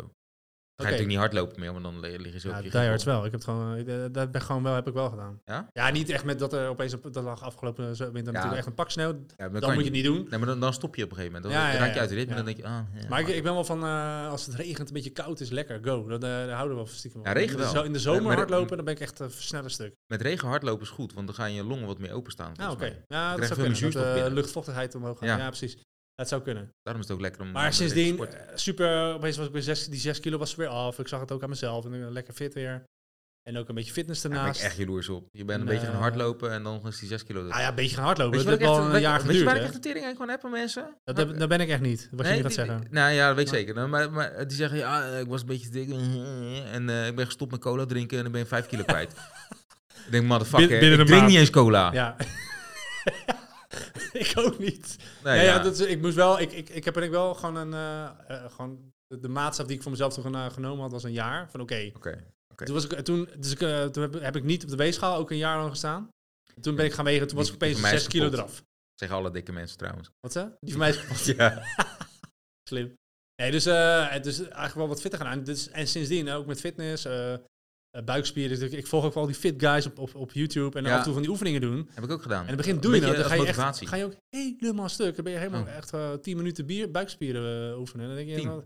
A: Dan
B: Oké.
A: ga je natuurlijk niet hardlopen meer, want dan li- lig je zo
B: Ja,
A: op je
B: die Hards
A: gevel.
B: wel. Ik heb het gewoon, ik, eh, dat ben gewoon wel, heb ik wel gedaan.
A: Ja?
B: niet echt met dat er opeens op, dat lag afgelopen zo- winter natuurlijk echt een pak sneeuw.
A: Ja, maar
B: Dan
A: kan
B: moet je het niet doen.
A: Nee, maar dan, dan stop je op een gegeven moment. Dan
B: Ja, ja,
A: raak je
B: ja.
A: uit de ritme
B: Ja.
A: en dan denk je, ah, ja,
B: Maar ik, ik ben wel van, eh, als het regent, een beetje koud is, lekker, go. Dat, eh, daar houden we wel stiekem van.
A: Ja, regen
B: in, de,
A: wel.
B: zo- in de zomer
A: Maar- maar-
B: hardlopen, dan ben ik echt een sneller stuk.
A: Met regen hardlopen is goed, want dan gaan je longen wat meer openstaan.
B: Ah,
A: volgens
B: oké.
A: mij.
B: Ja, dat
A: krijg
B: zou
A: veel meer
B: kunnen.
A: zuurstof
B: Dat, eh,
A: binnen.
B: luchtvochtigheid omhoog gaat. Ja.
A: Ja.
B: precies. Dat zou kunnen.
A: Daarom is het ook lekker om.
B: Maar
A: om
B: sindsdien,
A: met regen te sporten.
B: eh, super, opeens was ik weer zes, die 6 kilo was er weer af. Ik zag het ook aan mezelf. En eh, lekker fit weer. En ook een beetje fitness
A: Daar ben
B: daarnaast.
A: ik echt jaloers op. Je bent een
B: En,
A: beetje gaan
B: eh,
A: hardlopen en dan is die 6 kilo.
B: Ah ja, een beetje gaan hardlopen.
A: Weet je
B: Dat
A: wat ik echt-
B: heeft wel een
A: weet je-
B: jaar
A: weet je
B: geduurd.
A: waar ik
B: hè?
A: echt de tering aan kan hebben, mensen?
B: Dat, heb- dat ben ik echt niet. Wat je nu gaat
A: die-
B: zeggen.
A: die- nou ja, dat weet ik
B: Ja.
A: zeker. Nou, Maar, maar die zeggen, ja, eh, ik was een beetje dik. eh, En eh, ik ben gestopt met cola drinken en dan ben je
B: (laughs)
A: 5 kilo kwijt. ik denk, motherfucker,
B: Binnen- binnen
A: ik
B: een
A: drink
B: maand.
A: niet eens cola.
B: Ja. (laughs) ik ook niet.
A: Nee,
B: ja, ja.
A: ja.
B: dat is, ik moest wel. Ik, ik, ik heb er wel gewoon een. eh, eh, gewoon de, de maatstaf die ik voor mezelf toen gena- genomen had was een jaar. Van oké.
A: Oké.
B: Toen was ik toen, dus ik, eh, toen heb, heb ik niet op de weegschaal ook een jaar lang gestaan. Toen ben ik gaan wegen. Toen was ik
A: Die- die
B: opeens
A: van mij is
B: 6 kilo
A: kapot.
B: eraf.
A: Zeggen alle dikke mensen
B: (laughs)
A: trouwens.
B: Wat hè? Die van
A: (laughs)
B: mij is kapot.
A: Ja.
B: Slim. Nee, dus, eh, het is eigenlijk wel wat fitter gedaan. Dus, en sindsdien ook met fitness, eh, eh, buikspieren. Dus ik, ik volg ook wel die fit guys op, op, op YouTube en
A: Ja.
B: dan af en toe van die oefeningen doen.
A: Heb ik ook gedaan.
B: En in het begin doe je
A: Beetje
B: dat, dan
A: als
B: ga je,
A: motivatie.
B: echt, ga je ook helemaal stuk. Dan ben je helemaal
A: Oh.
B: echt eh 10 minuten bier, buikspieren eh, oefenen. Dan denk je,
A: Tien.
B: nou,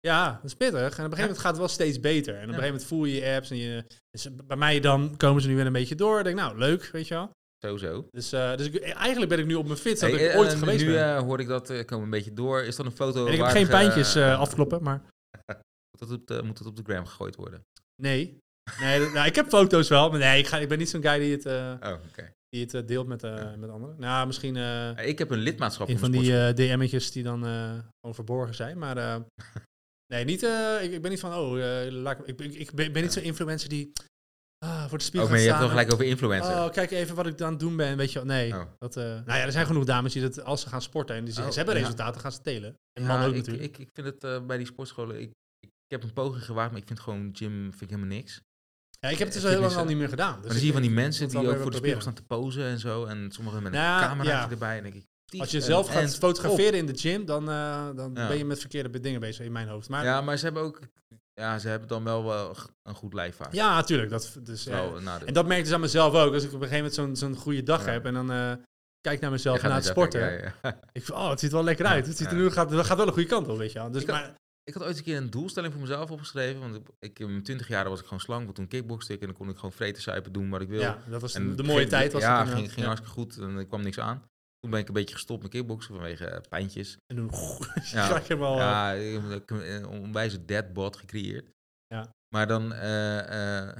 B: ja, dat is pittig. En op een gegeven moment gaat het wel steeds beter. En op een gegeven moment voel je je apps. En je, dus bij mij dan komen ze nu weer een beetje door. Ik denk nou, leuk, weet je wel.
A: Sowieso.
B: Dus, eh, dus ik, eigenlijk ben ik nu op mijn fitst dat
A: Hey,
B: ik
A: eh,
B: ooit
A: en
B: geweest
A: nu
B: ben.
A: eh, hoor ik dat, eh, ik kom een beetje door. Is dat een foto
B: en ik heb
A: waardig,
B: geen pijntjes
A: eh,
B: eh, afkloppen, maar
A: Moet dat, op de, moet dat op de gram gegooid worden?
B: nee. Nee, dat- nou, ik heb foto's wel, maar nee, ik, ga, ik ben niet zo'n guy die het, eh,
A: Oh, oké.
B: die het eh, deelt met, eh, met anderen. Nou, misschien... eh,
A: Eh, Ik heb een lidmaatschap
B: Een
A: van
B: van
A: de
B: die
A: sportschool.
B: eh, DM'tjes die dan eh gewoon verborgen zijn. Maar
A: (laughs)
B: eh, nee, niet, eh, ik, ik ben niet van, oh, eh, laat ik, ik, ik, ik ben ben niet zo'n influencer die ah, voor de spiegel
A: oh, maar
B: gaat
A: je hebt
B: staan.
A: het
B: en,
A: gelijk over influencer.
B: oh, kijk even wat ik aan het doen ben. Weet je, wel. nee.
A: Oh.
B: Dat, eh, nou ja, er zijn genoeg dames die dat als ze gaan sporten en die, ze-
A: Oh,
B: ze hebben
A: ja.
B: resultaten, gaan ze telen. En
A: Ja,
B: mannen ook
A: ik,
B: natuurlijk.
A: Ik, ik vind het eh, bij die sportscholen... Ik, ik, ik heb een poging gewaagd, maar ik vind gewoon gym vind ik helemaal niks.
B: ja, ik heb het dus
A: ik
B: al heel
A: vind
B: lang
A: het
B: al
A: zo-
B: niet meer gedaan. Dus
A: maar dan zie je
B: ik-
A: van die
B: ik
A: mensen
B: moet
A: die
B: wel
A: ook
B: weer
A: voor de
B: proberen.
A: spiegel staan te posen en zo. En sommigen met
B: Nou,
A: een cameraatje
B: ja.
A: erbij. En dan denk ik,
B: Als je
A: "Tief,
B: zelf
A: en-
B: gaat
A: en
B: fotograferen in de gym, dan, eh, dan
A: Ja.
B: ben je met verkeerde dingen bezig in mijn hoofd.
A: op."
B: Maar ja,
A: Ja, maar ze hebben ook... Ja, ze hebben dan wel wel g- een goed lijf vaak.
B: natuurlijk. Dat, dus,
A: Dat is wel
B: eh,
A: een nadeel.
B: En dat merk ik dus aan mezelf ook. Als ik op een gegeven moment zo'n zo'n goede dag
A: Ja.
B: heb en dan eh, kijk naar
A: Je
B: mezelf
A: gaat
B: na het
A: niet zeggen,
B: sporten.
A: ja, ja.
B: Ik vind, oh, het ziet er wel lekker uit. Het ziet er
A: Ja.
B: nu, gaat, gaat wel de goede kant op, weet je wel. Dus,
A: Ik had-
B: maar,
A: Ik had ooit een keer een doelstelling voor mezelf opgeschreven. Want ik- ik, in mijn 20 jaar was ik gewoon slank. Want toen kickboxte ik en dan kon ik gewoon vreten, suipen, doen wat ik wil.
B: ja, dat was
A: en
B: de mooie
A: ging-
B: tijd. Was eh,
A: ja,
B: het
A: ging,
B: inderdaad.
A: ging hartstikke goed en er kwam niks aan. Toen ben ik een beetje gestopt met kickboksen vanwege eh, pijntjes.
B: En toen (laughs) goh,
A: Ja.
B: zag je hem al. eh,
A: Ja, ik heb een- ik heb een onwijze deadbot gecreëerd.
B: Ja.
A: Maar dan, eh, eh,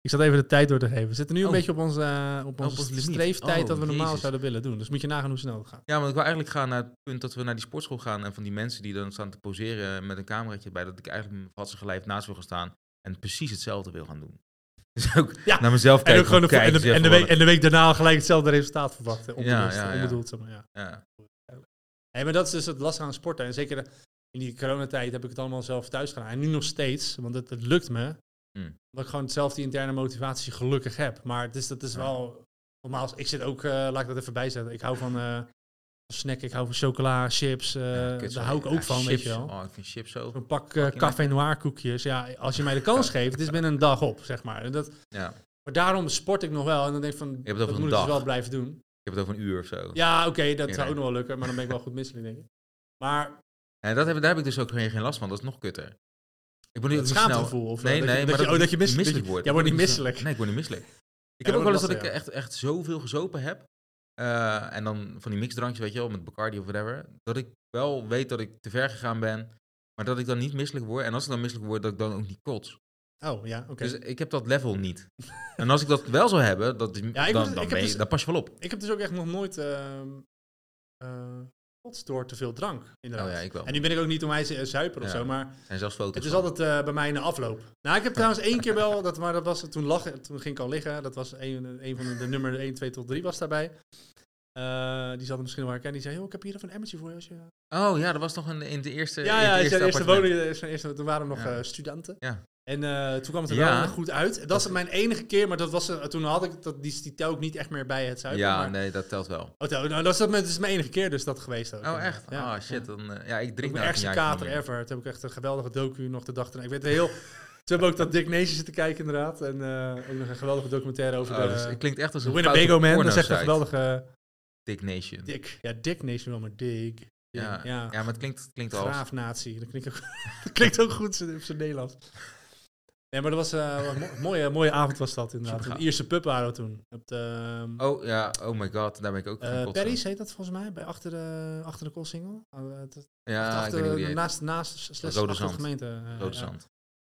B: Ik zat even de tijd door te geven. We zitten nu een
A: Oh.
B: beetje op onze, eh, op
A: op
B: onze
A: ons limiet.
B: streeftijd
A: Oh,
B: dat we normaal
A: jezus.
B: zouden willen doen. Dus moet je nagaan hoe snel het gaat.
A: ja, want ik wil eigenlijk gaan naar het punt dat we naar die sportschool gaan. En van die mensen die dan staan te poseren met een cameraatje bij. Dat ik eigenlijk met mijn vatsige lijf naast wil gaan staan. En precies hetzelfde wil gaan doen. (laughs) Dus ook
B: Ja.
A: naar mezelf
B: En,
A: kijken.
B: ook gewoon de,
A: van,
B: en,
A: kijk,
B: de, en, de
A: eens
B: week,
A: even
B: en de week daarna gelijk hetzelfde resultaat verwachten. Onbedoeld,
A: ja, ja.
B: onbedoeld zeg maar, ja.
A: wat- ja.
B: Nee, maar dat is dus het lastige aan sporten. En zeker de- in die coronatijd heb ik het allemaal zelf thuis gedaan. En nu nog steeds, want het, het lukt me.
A: Mm.
B: Dat ik gewoon hetzelfde interne motivatie gelukkig heb. Maar het is, dat is
A: Ja.
B: wel... Normaal, is- ik zit ook... eh, laat ik dat even bijzetten. Ik hou van eh, snack, ik hou van chocola, chips. eh,
A: Ja, kut,
B: daar
A: sorry.
B: hou ik ook
A: Ja,
B: van, weet
A: chips.
B: je wel.
A: Oh, ik vind chips zo.
B: Een pak eh,
A: Fucking
B: café noir koekjes. Ja, als je mij de
A: (laughs)
B: kans geeft, het is binnen een dag op, zeg maar. En dat,
A: Ja.
B: maar daarom sport ik nog wel. En dan denk ik van,
A: het over
B: dat
A: een
B: moet ik
A: dag.
B: dus wel blijven doen.
A: Ik heb het over een uur of zo.
B: Ja, oké, dat
A: Ja,
B: zou
A: nee.
B: ook nog wel lukken. Maar dan ben ik wel goed misselijk, denk ik. Maar
A: En dat heb, daar heb ik dus ook geen geen last van. Dat is nog kutter. Ik moet niet
B: het
A: dat ik snel-
B: schaamtegevoel? Of,
A: Nee, nee,
B: eh, dat je, dat
A: maar
B: je, oh, dat je misselijk, dat je-
A: wordt.
B: Jij wordt niet misselijk.
A: Nee, ik word niet misselijk. Ik
B: Ja,
A: heb ook
B: dat
A: wel eens dat ik
B: wordt lastig,
A: echt, echt zoveel gezopen heb. eh, en dan van die mixdrankjes, weet je wel, met Bacardi of whatever. Dat ik wel weet dat ik te ver gegaan ben. Maar dat ik dan niet misselijk word. En als ik dan misselijk word, dat ik dan ook niet kots.
B: Oh, ja, oké.
A: Dus ik heb dat level niet. en als ik dat wel zou hebben, dat, dan,
B: moet-
A: dan,
B: ik heb
A: ben je-
B: dus-
A: dan pas je wel op.
B: ik heb dus ook echt nog nooit ehm eh, gekotst door te veel drank, inderdaad.
A: Oh ja, ik wel.
B: En nu ben ik ook niet om mij te zuipen of
A: Ja.
B: zo, maar
A: Er zijn zelfs foto's
B: het is
A: van.
B: altijd eh, bij mij in de afloop. Nou, ik heb trouwens één keer wel, dat, maar dat was, toen lag, toen ging ik al liggen. Dat was een, een van de, de nummer 1, 2 tot 3 was daarbij. Eh, die zal hem misschien wel herkennen. Die zei, joh, ik heb hier even een emmertje voor je. Als je...
A: Oh ja, dat was nog een, in de eerste
B: Ja,
A: in het
B: ja, zijn eerste
A: appartement.
B: woning, eh, zijn eerste, toen waren we nog
A: Ja.
B: eh, studenten.
A: Ja.
B: En eh, toen kwam het er
A: Ja.
B: wel goed uit. Dat is mijn enige keer, maar dat was, eh, toen had ik dat, die, die tel ik niet echt meer bij het zuipen.
A: Ja,
B: maar-
A: nee, dat telt wel.
B: Oh, tel- nou, dat, is, dat mijn- dat is mijn enige keer dus dat geweest. Ook,
A: Oh, echt?
B: Ja.
A: Ah, shit. Dan, eh, ja, ik
B: Ik
A: drink
B: mijn
A: nou
B: ergste kater ever. Toen heb ik echt een geweldige docu nog de dag erna. Ik weet heel... Toen heb ik ook dat Dick Nation zitten kijken inderdaad. En eh, ook nog een geweldige documentaire over de,
A: Eh, het klinkt echt als
B: de
A: dus een
B: Winnebago Man. Dat is echt een
A: wel
B: geweldige... eh,
A: Dick Nation.
B: Dick. Ja, Dick Nation wel, maar Dick. Dick,
A: ja. Ja.
B: ja.
A: maar het klinkt, het klinkt al. als-
B: Graafnatie. Dat klinkt ook, (laughs) dat klinkt ook goed op zijn Nederlands. Nee, maar dat was eh, wel een mo- mooie, mooie avond was dat inderdaad.
A: Supergaaf.
B: De Ierse pub waren we toen. Op de, ehm,
A: Oh ja, oh my god, daar ben ik ook
B: eh,
A: gaan kotsen.
B: Perry's heet dat volgens mij, bij achter de, achter de Koolsingel. Eh, het- het-
A: Ja, Ah, ik
B: achter,
A: weet niet hoe die heet.
B: naast, naast slechts
A: Rode
B: achter de
A: Zand.
B: gemeente. eh,
A: Rode
B: ja.
A: Zand.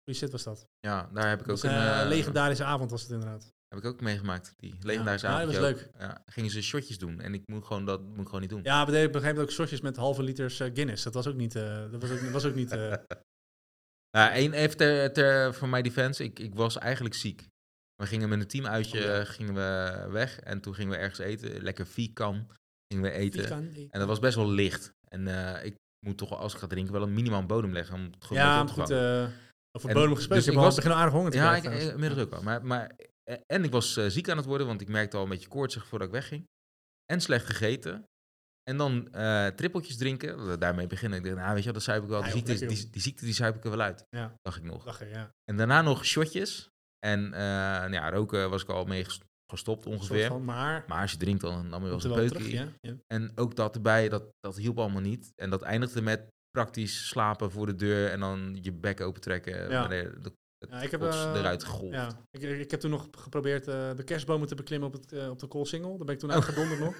B: Goeie shit was dat.
A: Ja, daar heb ik ook
B: Dat was
A: een,
B: een
A: eh,
B: legendarische avond was het inderdaad.
A: heb ik ook meegemaakt. Die legendarische
B: Ja, ja,
A: avond.
B: dat was leuk.
A: Ja, gingen ze shotjes doen en ik moet gewoon dat moet ik gewoon niet doen.
B: Ja, we deden op een gegeven moment ook shotjes met halve liters eh, Guinness. Dat was ook niet... eh, dat was ook, was
A: (laughs)
B: ook niet eh,
A: Nou, één even ter, ter- voor mijn defense. Ik, ik was eigenlijk ziek. We gingen met een teamuitje
B: Oh, ja.
A: eh, gingen we weg en toen gingen we ergens eten. Lekker vegan gingen we eten.
B: vegan.
A: En dat was best wel licht. En eh, ik moet toch, als ik ga drinken, wel een minimaal bodem leggen. Om het gewoon
B: ja,
A: een beetje op
B: goed.
A: te vangen.
B: eh over
A: En
B: bodem
A: dus
B: gesproken.
A: ik
B: ik was
A: was-
B: begin al aardig honger te dus
A: ja, ik,
B: krijgen trouwens.
A: eh, inmiddels ook wel. Maar, maar, eh, en ik was eh, ziek aan het worden, want ik merkte al een beetje koortsig voordat ik wegging. En slecht gegeten. En dan eh, trippeltjes drinken. Dat we Daarmee beginnen. Ik dacht, nou weet je wel, dat zuip ik wel.
B: Ja,
A: Die
B: joh,
A: ziekte, is-
B: lekker,
A: die, die ziekte, die zuip ik er wel uit.
B: Ja.
A: Dacht ik nog.
B: Lachen, ja.
A: En daarna nog shotjes. En eh, nou ja, roken was ik al mee ges- gestopt
B: Soort
A: ongeveer.
B: van, maar...
A: Maar als je drinkt, dan nam je wel
B: komt
A: eens
B: er
A: een
B: wel
A: peukje.
B: terug, ja. ja.
A: En ook dat erbij, dat, dat hielp allemaal niet. En dat eindigde met praktisch slapen voor de deur en dan je bek open trekken.
B: Ja.
A: wanneer de
B: Ja, ik heb,
A: kots
B: eh,
A: eruit golft.
B: Ja, ik, ik ik heb toen nog geprobeerd eh, de kerstbomen te beklimmen op, het, eh, op de koolsingel. Daar ben ik toen
A: Oh.
B: uitgedonderd
A: (laughs)
B: nog.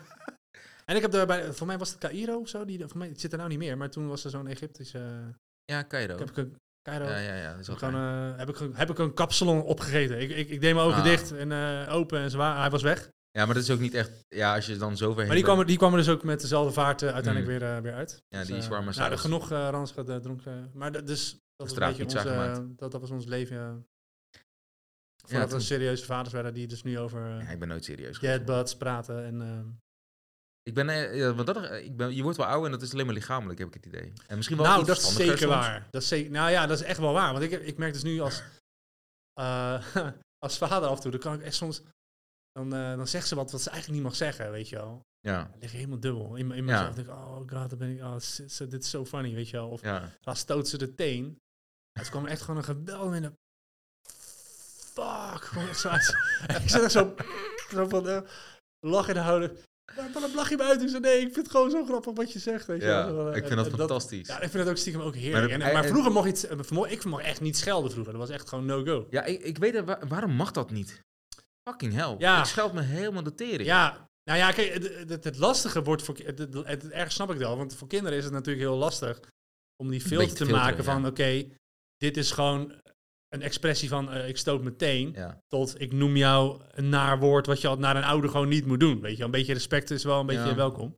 B: En ik heb daarbij, voor mij was het Cairo of zo, die, voor mij, het zit er nou niet meer, maar toen was er zo'n Egyptische, eh,
A: Ja, Cairo.
B: ik heb ik een Cairo,
A: Oh. Ja, ja, ja. Dat is
B: heb,
A: wel
B: ik gewoon,
A: fijn.
B: eh, heb, ik, een- heb ik een kapsalon opgegeten. Ik, ik, ik deed mijn ogen
A: Ah.
B: dicht en eh, open en ze wa- hij was weg.
A: ja, maar dat is ook niet echt... Ja, als je dan zo ver heen
B: Maar die
A: bent-
B: kwam, er- die kwam er dus ook met dezelfde vaart eh, uiteindelijk weer, eh, weer uit.
A: Ja, die
B: eh,
A: shawarma
B: Nou, er
A: saus.
B: genoeg eh ranzige eh, dronken. Maar dat- dus, dat was een beetje
A: Straatpizza
B: onze,
A: gemaakt.
B: dat, dat was ons leven. eh,
A: Ja,
B: voordat we
A: toen-
B: serieuze vaders werden, die dus nu over... eh,
A: Ja, ik ben nooit serieus geweest.
B: Jetbuds praten en... ehm,
A: Ik ben, eh, ja, want dat, eh, ik ben, je wordt wel ouder en dat is alleen maar lichamelijk, heb ik het idee. En misschien wel
B: nou,
A: iets
B: dat is
A: verstandiger
B: zeker
A: soms.
B: waar. Dat is zeker, nou ja, dat is echt wel waar. Want ik, heb- ik merk dus nu als, (laughs) eh, als vader af en toe, dan kan ik echt soms... Dan, eh, dan zegt ze wat wat ze eigenlijk niet mag zeggen, weet je wel.
A: Ja,
B: Dan lig ik helemaal dubbel. In, mijn- in
A: Ja.
B: mezelf denk ik, oh god, dan ben ik, oh, s- s- dit is zo funny, weet je wel. Of
A: ja.
B: dan stoot ze de teen. Het kwam echt gewoon een geweldige... en een Fuck, (laughs) gewoon echt zo uit. ik zit echt zo, zo van eh, lach in de houden. Waar- Waarom lach je me uit? Ik zei, nee, ik vind het gewoon zo grappig wat je zegt. Weet je wel. Zo,
A: ja.
B: eh,
A: Ik
B: en-
A: vind dat
B: en
A: fantastisch.
B: Ja, ik vind het ook stiekem ook heerlijk.
A: Maar
B: En-
A: de-
B: Maar,
A: eh,
B: vroeger mocht je iets, eh, vermo- ik mocht echt niet schelden vroeger. Dat was echt gewoon no-go.
A: Ja, ik, ik weet het, wa- waarom mag dat niet? Fucking hell.
B: Ja.
A: Ik scheld me helemaal de tering.
B: Ja, nou ja, kijk, het, het, het lastige wordt voor... ki- Het, het, het- ergens snap ik wel, want voor kinderen is het natuurlijk heel lastig om die filter
A: beetje
B: te
A: te filteren,
B: maken van,
A: ja.
B: oké, dit is gewoon een expressie van eh, ik stoot meteen,
A: Ja.
B: tot ik noem jou een naar woord wat je al naar een ouder gewoon niet moet doen. Weet je, wel. een beetje respect is wel een beetje
A: Ja,
B: welkom.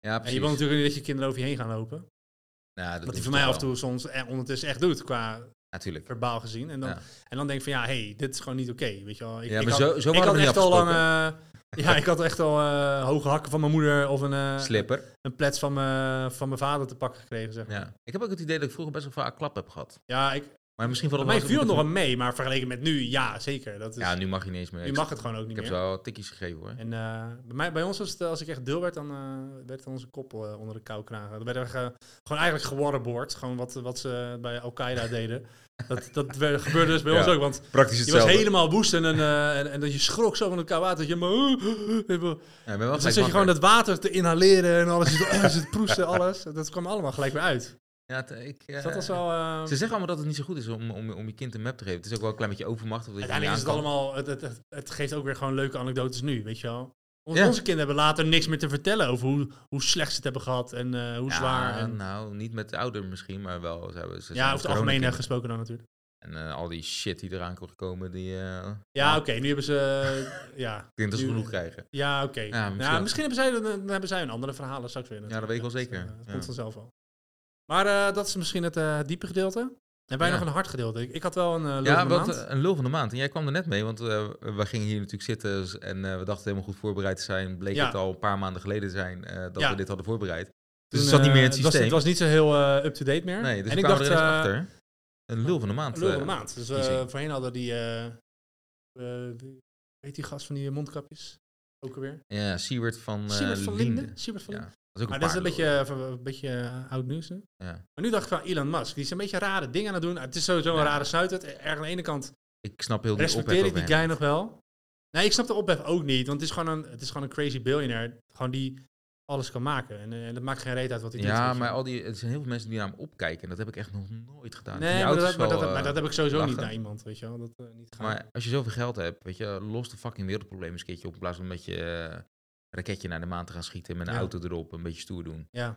A: Ja,
B: En
A: precies.
B: je wil natuurlijk niet dat je kinderen over je heen gaan lopen.
A: Ja, dat
B: Wat
A: doe
B: hij
A: ik
B: voor mij
A: wel.
B: af en toe soms eh, ondertussen echt doet. Qua
A: natuurlijk.
B: verbaal gezien. En dan,
A: Ja.
B: en dan denk ik van ja, hey, dit is gewoon niet oké. Weet je wel, ik,
A: Ja,
B: ik
A: maar
B: had,
A: zo, zo
B: ik
A: hadden
B: had
A: we niet
B: echt al lang.
A: afgesproken.
B: eh, (laughs) ja, ik had echt al eh, hoge hakken van mijn moeder of een, eh,
A: Slipper.
B: een plets van mijn, van mijn vader te pakken gekregen. Zeg. maar.
A: Ja. Ik heb ook het idee dat ik vroeger best wel vaak klap heb gehad.
B: Ja, ik,
A: Maar misschien valt
B: bij
A: het
B: mij
A: wel eens
B: viel het nog
A: op de-
B: wel mee, maar vergeleken met nu, ja, zeker. Dat is,
A: Ja, nu mag je niet eens meer.
B: nu
A: Ik-
B: mag het gewoon ook
A: Ik
B: niet
A: heb
B: meer.
A: ze wel tikjes gegeven hoor.
B: En eh, bij, mij, bij ons was het, eh, als ik echt deel werd, dan eh, werd onze koppel eh, onder de kou knagen. Dan werden we ge- gewoon eigenlijk gewaterboard. Gewoon wat, wat ze bij Al-Qaeda
A: (laughs)
B: deden. Dat, dat werd- gebeurde dus bij
A: Ja.
B: ons ook, want
A: Praktisch
B: je was helemaal woest en, dan, eh, en, en dat je schrok zo van het koud water. Dat je, maar,
A: Ja, ik ben wel
B: dus dan
A: gelijk
B: zit je gewoon
A: wakker.
B: dat water te inhaleren en alles. Je, oh, het proesten, alles. Dat kwam allemaal gelijk weer uit.
A: Ja, het- ik,
B: Dus
A: eh,
B: dat was wel... eh,
A: Ze zeggen allemaal dat het niet zo goed is om, om, om je kind een map te geven. Het is ook wel een klein beetje overmacht. Of dat je er
B: Uiteindelijk is
A: niet
B: het
A: aan kan.
B: allemaal, het, het, het, het geeft ook weer gewoon leuke anekdotes nu, weet je wel. Ons-
A: Ja.
B: Onze kinderen hebben later niks meer te vertellen over hoe, hoe slecht ze het hebben gehad en eh, hoe zwaar.
A: Ja,
B: En,
A: nou, niet met de ouder misschien, maar wel. Ze hebben, ze zijn
B: ja, over het algemeen eh,
A: coronakinderen.
B: gesproken dan natuurlijk.
A: En eh, al die shit die eraan kon komen, die... eh,
B: Ja, oké, nu hebben ze... eh, ja,
A: ik denk dat ze
B: Nu-
A: genoeg krijgen.
B: ja oké.
A: Ja,
B: Nou, misschien,
A: misschien-
B: hebben, zij, dan, dan hebben zij een andere verhalen straks weer. natuurlijk.
A: dat weet ik wel zeker.
B: eh, dat
A: Ja.
B: komt vanzelf wel. Maar eh, dat is misschien het eh, diepe gedeelte. En wij
A: Ja.
B: nog een hard gedeelte. Ik, ik had wel een eh leuke
A: Ja, wat
B: maand.
A: eh, een lul van de maand. En jij kwam er net mee, want eh, we gingen hier natuurlijk zitten s- en eh, we dachten helemaal goed voorbereid te zijn. Bleek
B: Ja.
A: het al een paar maanden geleden te zijn eh, dat
B: Ja.
A: we dit hadden voorbereid. Dus
B: Toen,
A: het zat niet meer in het
B: eh, was-
A: systeem.
B: Het was, niet zo heel eh, up-to-date meer.
A: nee, dus
B: en
A: we
B: ik
A: kwamen
B: dacht,
A: er ineens
B: eh,
A: achter. Een lul van de maand.
B: Lul van de
A: eh,
B: maand. Dus eh,
A: verkiezing.
B: voorheen hadden we die, eh, eh, die- weet die gast van die eh, mondkapjes? Ook alweer.
A: Ja, Siewert van, eh
B: Siebert van
A: Linden.
B: Linden. Siebert van
A: Ja,
B: Linden.
A: Dat is ook
B: Maar
A: een
B: dat is
A: paar
B: een beetje,
A: lullen.
B: eh, van- een beetje eh, oud nieuws. Hè?
A: Ja.
B: Maar nu dacht ik van Elon Musk. Die is een beetje rare dingen aan het doen. Het is sowieso
A: Ja.
B: een rare snuitert. Erg aan de ene kant
A: Ik snap heel die ophef
B: respecteer ik
A: over
B: die
A: hem.
B: guy nog wel. Nee, ik snap de ophef ook niet. Want het is gewoon een, het is gewoon een crazy billionaire. Gewoon die alles kan maken. En, eh, en dat maakt geen reet uit wat hij doet.
A: Ja,
B: weet je.
A: maar al die, er zijn heel veel mensen die naar hem opkijken. En dat heb ik echt nog nooit gedaan. Ik vind
B: Nee,
A: die
B: maar
A: auto's
B: dat, maar,
A: wel,
B: dat, maar
A: eh,
B: dat heb ik sowieso niet
A: lachen.
B: naar iemand, weet je wel. Dat, eh, niet gaan.
A: Maar als je zoveel geld hebt, weet je, los de fucking wereldprobleem eens een keertje op. In plaats van met je eh, raketje naar de maan te gaan schieten met een
B: Ja.
A: auto erop, een beetje stoer doen.
B: ja,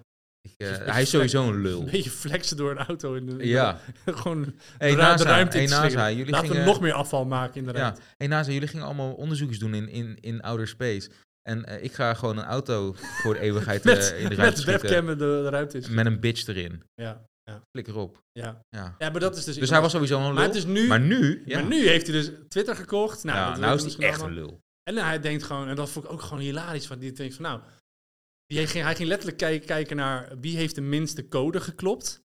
A: Ik,
B: Dus
A: eh,
B: een beetje
A: hij is sowieso
B: (laughs)
A: een lul.
B: een beetje flexen door een auto. In de,
A: Ja.
B: (laughs) gewoon
A: Hey,
B: de, ru- de
A: NASA,
B: ruimte in
A: hey,
B: te
A: NASA,
B: slingeren.
A: jullie
B: Laten
A: gingen-
B: we nog meer afval maken in de
A: Ja. dus
B: ruimte.
A: Hey NASA, jullie gingen allemaal onderzoekjes doen in, in, in outer space. En eh, ik ga gewoon een auto voor de eeuwigheid eh,
B: (laughs) Met,
A: in de ruimte
B: met
A: schieten.
B: webcam de, de ruimte is.
A: Met een bitch erin.
B: Ja,
A: Flikker op.
B: ja.
A: Ja.
B: ja, maar dat is dus...
A: Dus hij was sowieso een lul.
B: maar, het is nu,
A: Maar
B: maar,
A: nu, ja.
B: nu heeft hij dus Twitter gekocht. Nou,
A: Ja,
B: dat
A: nou
B: weten we
A: is
B: misschien
A: hij echt
B: allemaal.
A: een lul.
B: En hij denkt gewoon, en dat vond ik ook gewoon hilarisch, van die denkt van nou, die ging, hij ging letterlijk kijk- kijken naar wie heeft de minste code geklopt.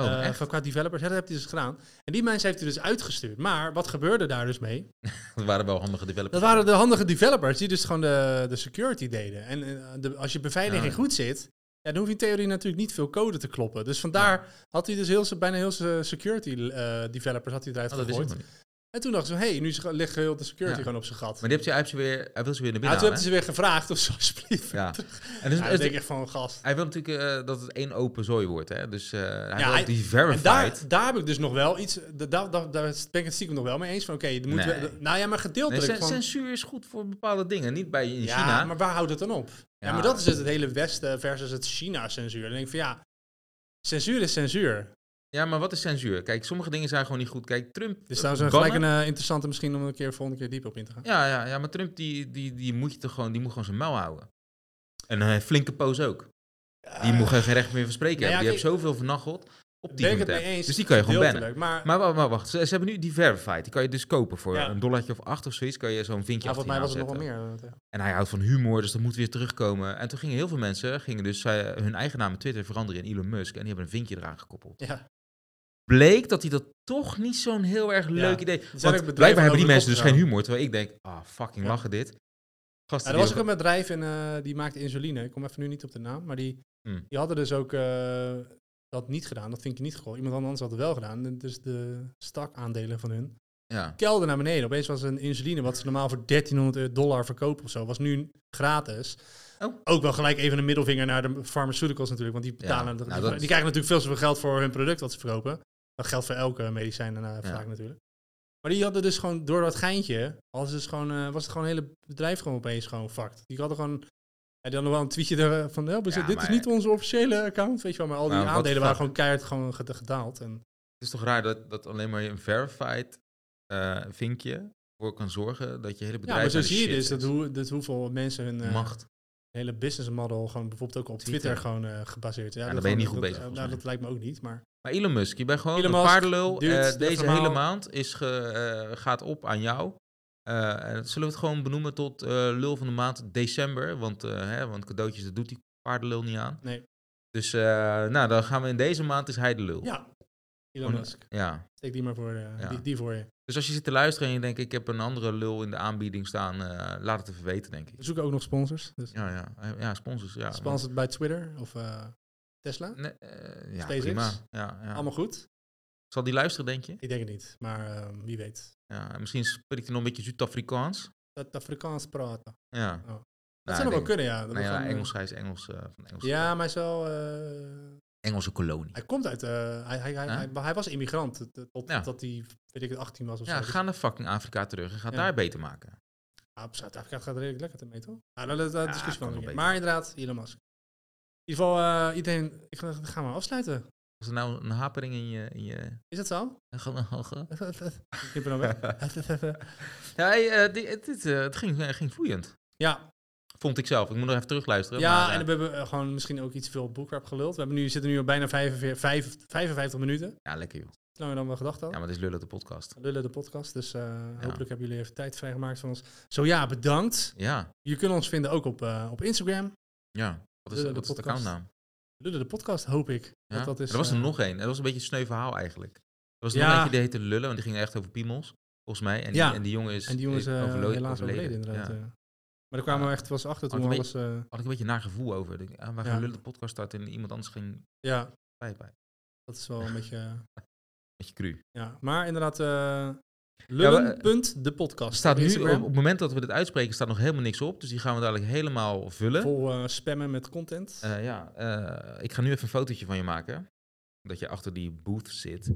A: Oh,
B: eh,
A: echt?
B: van qua developers, ja, dat heeft hij dus gedaan. En die mensen heeft hij dus uitgestuurd. Maar wat gebeurde daar dus mee?
A: Dat waren wel handige developers.
B: Dat waren de handige developers die dus gewoon de, de security deden. En eh, de, als je beveiliging
A: Ja.
B: goed zit, ja, dan hoef je in theorie natuurlijk niet veel code te kloppen. Dus vandaar had hij dus heel, z'n- bijna heel zijn security eh, developers had hij eruit
A: Oh, dat wist ik
B: gegooid.
A: nog niet.
B: En toen dacht ze, hé, hey, nu is- ligt heel de security
A: Ja.
B: gewoon op zijn gat.
A: Maar die heeft ze, hij, heeft ze weer, hij wil ze weer naar binnen
B: Ja, toen hebben
A: halen,
B: ze weer gevraagd of ze alsjeblieft.
A: hè? Ja.
B: Ja,
A: En dus,
B: dan
A: dus-
B: denk ik echt van, oh, gast.
A: hij wil natuurlijk eh, dat het één open zooi wordt, hè? Dus eh, hij wil
B: Ja, hij-
A: ook die
B: En
A: verified.
B: daar, daar heb ik dus nog wel iets, da- da- da- daar ben ik het stiekem nog wel mee eens van, oké, er moet
A: Nee.
B: wel- nou ja, maar
A: Nee,
B: gedeeltelijk
A: cen-
B: van,
A: Censuur is goed voor bepaalde dingen, niet bij in
B: ja,
A: China.
B: maar waar houdt het dan op? Ja,
A: Ja.
B: maar dat is dus het hele Westen versus het China-censuur. Dan denk ik van ja, censuur is censuur.
A: Ja, maar wat is censuur? Kijk, sommige dingen zijn gewoon niet goed. Kijk, Trump...
B: Dus daar is een-
A: bannen-
B: gelijk een eh, interessante misschien om een keer volgende keer diep op in te gaan.
A: Ja, ja, ja, maar Trump die, die, die moet je toch gewoon, die moet gewoon zijn mouw houden. En een flinke poos ook. Die moet gewoon geen recht meer van spreken
B: Ah. Nou ja,
A: hebben. Die heeft
B: kijk,
A: zoveel vernachteld op die
B: Eh, ben ik het
A: app.
B: mee eens.
A: Dus die kan je gewoon bannen.
B: gedeeltelijk, Maar,
A: Maar wa- wa- wacht, ze, ze hebben nu die verified. Die kan je dus kopen voor
B: Ja.
A: een dollartje of acht of zoiets. Kan je zo'n vinkje
B: ja, volgens mij was het
A: achter je
B: nog wel
A: aanzetten.
B: meer. eh, tegen.
A: En hij houdt van humor, dus dat moet weer terugkomen. En toen gingen heel veel mensen gingen dus eh, hun eigen naam op Twitter veranderen in Elon Musk. En die hebben een vinkje eraan gekoppeld.
B: eh, Ja.
A: Bleek dat hij dat toch niet zo'n heel erg leuk idee...
B: ook
A: Want
B: bedrijven
A: blijkbaar hebben
B: over
A: die
B: de
A: mensen
B: kop
A: dus
B: gegaan.
A: geen humor. Terwijl ik denk, ah, fucking
B: Ja.
A: lachen dit.
B: Ja,
A: Gasten
B: er
A: die
B: was ook
A: ook-
B: een bedrijf en eh, die maakte insuline. Ik kom even nu niet op de naam. Maar die,
A: Hmm.
B: die hadden dus ook eh, dat niet gedaan. Dat vind ik niet gekocht. Iemand anders had het wel gedaan. En Dus de stakaandelen van hun
A: Ja,
B: kelder naar beneden. Opeens was een insuline, wat ze normaal voor 1300 dollar verkopen of zo, was nu gratis.
A: Oh.
B: Ook wel gelijk even een middelvinger naar de pharmaceuticals natuurlijk, want die betalen.
A: Ja,
B: die,
A: nou, dat-
B: die krijgen natuurlijk veel te veel geld voor hun product wat ze verkopen. Dat geldt voor elke medicijn en eh, vaak natuurlijk. Maar die hadden dus gewoon door dat geintje, hadden ze dus gewoon, eh, was het gewoon een hele bedrijf gewoon opeens gewoon fucked. Die hadden gewoon. En dan nog wel een tweetje er, eh, van, "Help, is
A: Ja,
B: dit is
A: maar-
B: niet onze officiële account, weet je wel. Maar al die
A: Maar wat
B: aandelen waren
A: fuck?
B: gewoon keihard gewoon ged- gedaald. En
A: het is toch raar dat, dat alleen maar je een verified eh, vinkje voor kan zorgen dat je hele
B: ja,
A: bedrijf...
B: maar zo
A: naar de
B: zie je
A: shit
B: dus dat,
A: is.
B: hoe, dat hoeveel mensen hun... eh,
A: Macht.
B: een hele business model gewoon bijvoorbeeld ook op Twitter,
A: Twitter.
B: gewoon eh, gebaseerd. Ja,
A: dan
B: dat
A: ben je
B: gewoon-
A: niet goed
B: dat-
A: bezig,
B: eh,
A: volgens
B: Nou,
A: mij.
B: dat lijkt me ook niet, maar
A: Maar Elon Musk, je bent gewoon
B: Elon
A: een
B: Musk
A: paardenlul.
B: duwt
A: Eh,
B: het
A: deze
B: verhaal.
A: hele maand is ge- eh, gaat op aan jou. Eh, en dat zullen we het gewoon benoemen tot eh, lul van de maand december. Want, eh, hè, want cadeautjes, dat doet die paardenlul niet aan.
B: Nee.
A: Dus eh, nou, dan gaan we in deze maand is hij de lul.
B: Ja. Elon
A: Gewoon-
B: Musk.
A: Ja.
B: Steek die maar voor, eh,
A: Ja.
B: die, die voor je.
A: Dus als je zit te luisteren en je denkt, ik heb een andere lul in de aanbieding staan, eh, laat het even weten, denk ik.
B: We zoeken ook nog sponsors. Dus
A: Ja, ja. ja sponsors. Ja,
B: sponsors bij Twitter of eh, Tesla.
A: Nee, eh, ja,
B: SpaceX.
A: prima. Ja, ja.
B: Allemaal goed.
A: Zal die luisteren, denk je?
B: Ik denk het niet, maar eh, wie weet.
A: Ja, misschien spreekt hij nog een beetje Zuid-Afrikaans.
B: Dat Afrikaans praten.
A: Ja.
B: Oh. Dat Dat
A: Nou,
B: zou nog wel
A: ik denk-
B: kunnen, ja. Dat
A: Nou
B: we
A: ja,
B: gewoon, eh,
A: Engels, hij is Engels, eh, van Engelse,
B: Ja, maar hij is wel... eh,
A: Engelse kolonie.
B: hij komt uit... eh, hij, hij, hij,
A: Huh?
B: hij, maar hij was immigrant tot- tot,
A: Ja.
B: tot hij, weet ik het, 18 was of zo.
A: Ja,
B: Dus-
A: ga naar fucking Afrika terug en ga het
B: Ja.
A: daar beter maken.
B: Ah, op Zuid-Afrika gaat het redelijk lekker mee, toch? Ah, dat, dat, dat
A: Ja,
B: discussie
A: kan
B: van
A: wel
B: een
A: beter.
B: Maar inderdaad, Elon Musk. In ieder geval, eh, iedereen... Ik ga, gaan we afsluiten.
A: Was er nou een hapering in je... In
B: (laughs)
A: je...
B: Is dat zo? ik knip er dan
A: (laughs)
B: weg.
A: ja, hey, eh, die- het, het, eh, het ging, eh, ging vloeiend.
B: ja,
A: Vond ik zelf. Ik moet nog even terugluisteren.
B: ja
A: maar, eh,
B: en we hebben eh, gewoon misschien ook iets veel boekrap geluld. We hebben nu, zitten nu al bijna 45, 55, 55 minuten.
A: ja, lekker joh.
B: Langer dan we gedacht
A: Ja,
B: hadden.
A: maar het is lullen de podcast.
B: Lullen de podcast. Dus eh, hopelijk hebben jullie even tijd vrijgemaakt van ons. Zo ja, bedankt.
A: Ja,
B: Je kunt ons vinden ook op, eh, op Instagram.
A: ja. Wat is,
B: Lullen de
A: wat is de
B: podcast.
A: accountnaam?
B: Lullen de podcast, hoop ik.
A: Ja?
B: Want dat is,
A: er was er
B: eh,
A: nog één. Dat was een beetje een sneu verhaal eigenlijk. Er was nog
B: Ja.
A: eentje die heette Lullen, want die ging echt over piemels. Volgens mij. En,
B: Ja.
A: die, en die jongen is,
B: En die jongen is eh,
A: overlo-
B: helaas overleden, inderdaad.
A: Ja.
B: eh. Maar daar kwamen
A: Ja.
B: we echt pas achter
A: Maar
B: toen
A: het
B: alles... eh,
A: Had ik een beetje een naar gevoel over. Ik Denk, ah, we gaan
B: Ja.
A: Lullen de podcast starten en iemand anders ging
B: ja,
A: pijp bij.
B: dat is
A: (laughs)
B: wel een beetje... eh,
A: Beetje cru.
B: ja, maar inderdaad... eh
A: Ja, maar-
B: Lullen.depodcast.
A: Er staat
B: op
A: nu, op,
B: Instagram.
A: op het moment dat we dit uitspreken, staat nog helemaal niks op. Dus die gaan we dadelijk helemaal vullen.
B: Vol eh, spammen met content.
A: Eh, ja, eh, ik ga nu even een fotootje van je maken. Dat je achter die booth zit.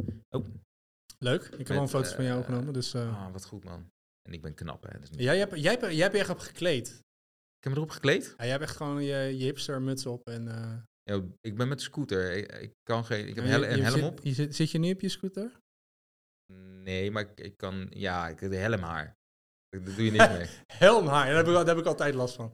B: Leuk. Ik heb al
A: met,
B: een foto's van jou
A: eh,
B: genomen. Dus, eh,
A: Ah, wat goed man. En ik ben knap hè. Dus niet-
B: jij, hebt, jij, hebt, jij hebt je echt op gekleed.
A: Ik heb me erop gekleed.
B: Ja, jij hebt echt gewoon je, je hipstermuts op. En, eh,
A: Ja, ik ben met de scooter. Ik, ik kan geen, ik heb
B: en
A: hel-
B: je-
A: een
B: je
A: helm
B: zit,
A: op.
B: Je zit, zit je nu op je scooter?
A: Nee, maar ik, ik kan, ja, ik heb de helm haar. Daar doe je
B: (laughs)
A: niks mee.
B: Helmhaar. Daar heb, ik, al- daar heb ik altijd last van.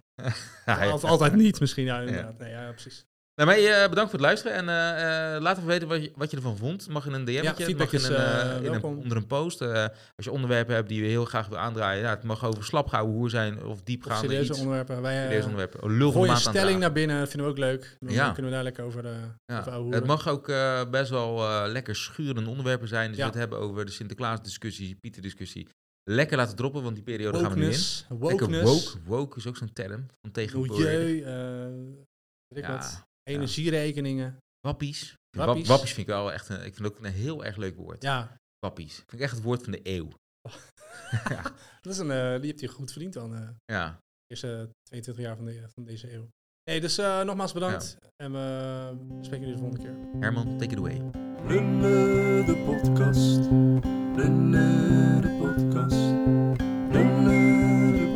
A: Ja, ja.
B: Of altijd niet misschien. Ja, inderdaad. Nee, ja, precies.
A: Nou, maar, eh, bedankt voor het luisteren en eh, eh, laat even weten wat je, wat je ervan vond. Mag in een DM,
B: Ja,
A: mag
B: feedback
A: in
B: is,
A: een, eh,
B: eh,
A: in een-
B: welkom.
A: onder een post. eh, als je onderwerpen hebt die je heel graag wil aandraaien, ja, het mag over slapgehouden hoer zijn of
B: Of
A: diepgaande
B: serieuze
A: iets.
B: onderwerpen. Wij, eh,
A: serieuze onderwerpen. Oh, lul van
B: Gooi
A: de
B: een
A: maand aan
B: stelling naar binnen, vinden we ook leuk. Dan
A: Ja.
B: kunnen we daar lekker over, eh
A: Ja,
B: over
A: Het
B: ouwehoeren.
A: mag ook eh, best wel eh, lekker schurende onderwerpen zijn. Dus
B: Ja.
A: we het hebben over de Sinterklaas-discussie, Pieter-discussie. Lekker laten droppen, want die periode gaan we nu in.
B: Wokeness,
A: Lekker
B: wokeness,
A: woke. Woke is ook zo'n term van tegenwoordig.
B: milieu, eh, weet ik
A: Ja,
B: wat, energierekeningen.
A: Wappies.
B: Wappies.
A: Wappies. Wappies vind ik wel echt een, ik vind ook een heel erg leuk woord.
B: Ja,
A: Wappies. Vind ik echt het woord van de eeuw.
B: dat is een, eh, die hebt hij goed verdiend dan. eh.
A: Ja.
B: eerste 22 jaar van, de, van deze eeuw. Hey, dus eh, nogmaals bedankt. En we spreken jullie de volgende keer.
A: Herman, take it away.
C: Lullen de podcast. Lullen de podcast. Lullen de